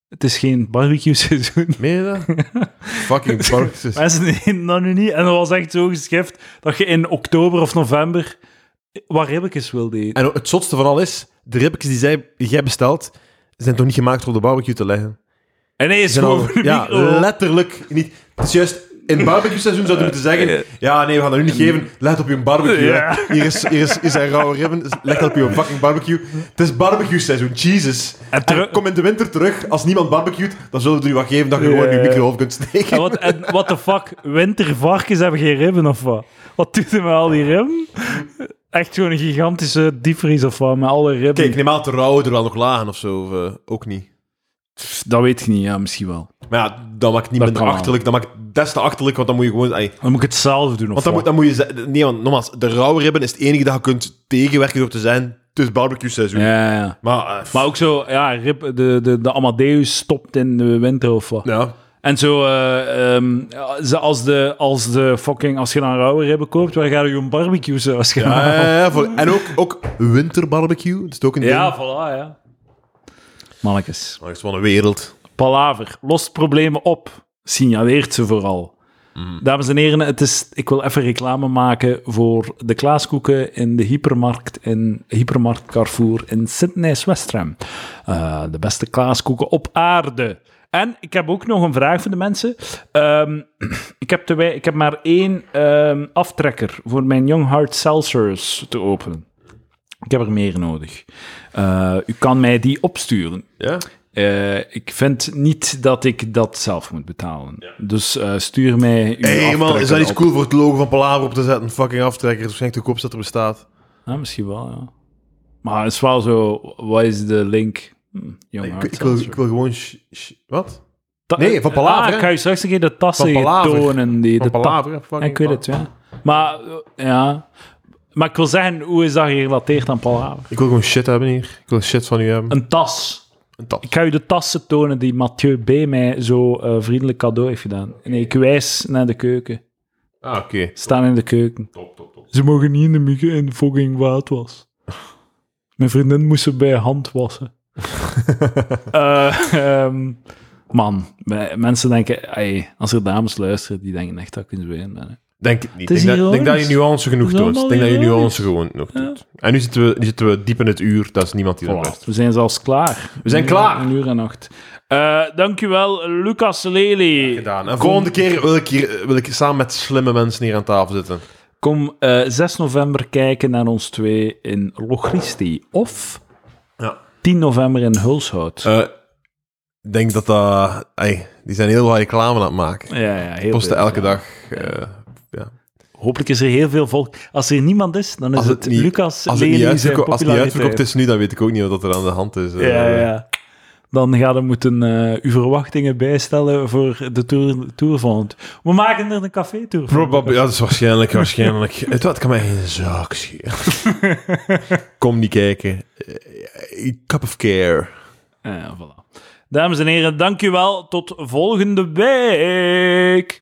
Speaker 1: Het is geen
Speaker 2: [laughs]
Speaker 1: barbecue-seizoen.
Speaker 2: Meen je dat? Fucking parkjes.
Speaker 1: Mensen nemen dat nu niet. En dat was echt zo geschift dat je in oktober of november wat ribbetjes wilde eten.
Speaker 2: En het zotste van al is, de ribbetjes die, zij, die jij bestelt, zijn toch niet gemaakt om op de barbecue te leggen?
Speaker 1: En nee, is
Speaker 2: Zijn
Speaker 1: gewoon
Speaker 2: al-
Speaker 1: voor de
Speaker 2: ja,
Speaker 1: microgolf.
Speaker 2: letterlijk niet. Het is juist, in het barbecue seizoen zou je moeten zeggen, ja nee, we gaan dat nu niet geven, let op je barbecue. hè.
Speaker 1: Ja.
Speaker 2: Hier, is, hier, is, hier zijn rauwe ribben, dus let op je fucking barbecue. Het is barbecue seizoen, Jesus.
Speaker 1: En
Speaker 2: En
Speaker 1: terug-
Speaker 2: kom in de winter terug, als niemand barbecuet, dan zullen we er wat geven dat je gewoon in je
Speaker 1: Ja.
Speaker 2: microgolf kunt
Speaker 1: En
Speaker 2: [laughs] steken.
Speaker 1: wat, en what the fuck, wintervarkens hebben geen ribben of wat? Wat doet er met al die ribben? Echt zo'n gigantische diepvries of wat, met alle ribben.
Speaker 2: Kijk, neem aan dat de rauwe er wel nog lagen of zo, of, eh, ook niet.
Speaker 1: Pff, dat weet ik niet, ja, misschien wel.
Speaker 2: Maar ja, dat
Speaker 1: Dat
Speaker 2: maakt niet minder
Speaker 1: kan wel.
Speaker 2: achterlijk. Dat maakt het des te achterlijk, want dan moet je gewoon... ai,
Speaker 1: Dan moet ik het zelf doen of
Speaker 2: want
Speaker 1: wat?
Speaker 2: dan moet, dan moet je... ze- Nee, want nogmaals, de rauwe ribben is het enige dat je kunt tegenwerken door te zijn. Het is barbecue seizoen.
Speaker 1: Ja, ja, ja.
Speaker 2: Maar, eh,
Speaker 1: Maar ook zo, ja, rib, de, de, de Amadeus stopt in de winter of wat.
Speaker 2: ja.
Speaker 1: En zo, eh, ehm, ja, ze- als, de, als de fucking, als je dan rauwe ribben koopt, waar ga je een barbecue saus gaan
Speaker 2: Ja,
Speaker 1: halen?
Speaker 2: Ah, ja, ja, voor- en ook, ook winterbarbecue. Dat is ook een
Speaker 1: Ja,
Speaker 2: ding.
Speaker 1: voilà, ja. Mannetjes.
Speaker 2: Maar het is wel een wereld.
Speaker 1: Palaver. Lost problemen op. Signaleert ze vooral. Dames en heren, het is, ik wil even reclame maken voor de klaaskoeken in de hypermarkt, in hypermarkt Carrefour in Sydney-Westram. Eh, de beste klaaskoeken op aarde. En ik heb ook nog een vraag voor de mensen. Ehm, [clears throat] ik, heb te wij- ik heb maar één ehm, aftrekker voor mijn Young Heart Seltzers te openen. Ik heb er meer nodig. Eh, u kan mij die opsturen.
Speaker 2: Ja?
Speaker 1: Eh, ik vind niet dat ik dat zelf moet betalen. Dus eh, stuur mij uw
Speaker 2: hey, man, is dat
Speaker 1: aftrekker
Speaker 2: iets
Speaker 1: op.
Speaker 2: cool voor het logo van Palaver op te zetten? Fucking aftrekker. Dat is waarschijnlijk de koopstad er bestaat.
Speaker 1: Ah, misschien wel, ja. Maar het is wel zo, wat is de link? Hm, Young
Speaker 2: Ik,
Speaker 1: Heart
Speaker 2: ik, wil,
Speaker 1: Seltzer.
Speaker 2: ik wil gewoon... sh- sh- wat?
Speaker 1: Ta-
Speaker 2: nee, van Palaver,
Speaker 1: Ah,
Speaker 2: hè?
Speaker 1: ik ga je straks een keer de tassen
Speaker 2: Van
Speaker 1: hier
Speaker 2: Palaver.
Speaker 1: tonen. Die,
Speaker 2: Van
Speaker 1: de ta-
Speaker 2: Palaver, hè? Fucking
Speaker 1: ik weet het, ja. Maar, eh, ja. Maar ik wil zeggen, hoe is dat gerelateerd aan Palaver?
Speaker 2: Ik wil gewoon shit hebben hier. Ik wil shit van u hebben.
Speaker 1: Een tas.
Speaker 2: Een tap.
Speaker 1: Ik ga u de tassen tonen die Mathieu B. mij zo eh, vriendelijk cadeau heeft gedaan. Nee, ik wijs naar de keuken.
Speaker 2: Ah, oké.
Speaker 1: Staan in de keuken.
Speaker 2: Top, top, top.
Speaker 1: Ze mogen niet in de muggen in fucking waad was. Mijn vriendin moest ze bij hand wassen. [laughs] Eh, ehm, man, wij- mensen denken, ey, als er dames luisteren, die denken echt dat ik een zwijn ben. hè.
Speaker 2: Denk het niet.
Speaker 1: Het is
Speaker 2: denk, dat, denk dat je
Speaker 1: ironisch.
Speaker 2: nuance genoeg
Speaker 1: Het is
Speaker 2: toont.
Speaker 1: allemaal
Speaker 2: Denk dat je
Speaker 1: ironisch.
Speaker 2: nuance gewoon genoeg doet. En nu zitten, we, nu zitten we diep in het uur. Dat is niemand die dat
Speaker 1: Voilà,
Speaker 2: luistert.
Speaker 1: We zijn zelfs klaar.
Speaker 2: We zijn
Speaker 1: Een-
Speaker 2: klaar.
Speaker 1: Een uur en acht. Eh dankjewel, Lucas Lely.
Speaker 2: Gedaan. En volgende keer wil ik, hier, wil ik samen met slimme mensen hier aan tafel zitten.
Speaker 1: Kom eh, 6 november kijken naar ons twee in Lochristi. Of
Speaker 2: Ja.
Speaker 1: 10 november in Hulshout.
Speaker 2: Eh, Ik denk dat dat... ey, die zijn heel wat reclame aan het maken.
Speaker 1: ja, ja, heel
Speaker 2: Posten
Speaker 1: veel.
Speaker 2: elke dag. eh, ja.
Speaker 1: Hopelijk is er heel veel volk. Als er niemand is, dan is
Speaker 2: Als
Speaker 1: het,
Speaker 2: het niet-
Speaker 1: Lucas
Speaker 2: Als het,
Speaker 1: Lely
Speaker 2: niet
Speaker 1: zijn
Speaker 2: uitverko- als het niet
Speaker 1: populariteit.
Speaker 2: uitverkocht is nu, dan weet ik ook niet wat er aan de hand is. eh.
Speaker 1: Ja, ja, ja. dan gaat je moeten eh, uw verwachtingen bijstellen voor de tour, tour volgend. We maken er een café-tour van.
Speaker 2: Probab- ja, dat is waarschijnlijk,
Speaker 1: [laughs]
Speaker 2: waarschijnlijk. Het wat kan mij geen zaak schelen.
Speaker 1: [laughs]
Speaker 2: Kom niet kijken. Eh, Cup of care.
Speaker 1: Eh, voilà. Dames en heren, dankjewel. Tot volgende week.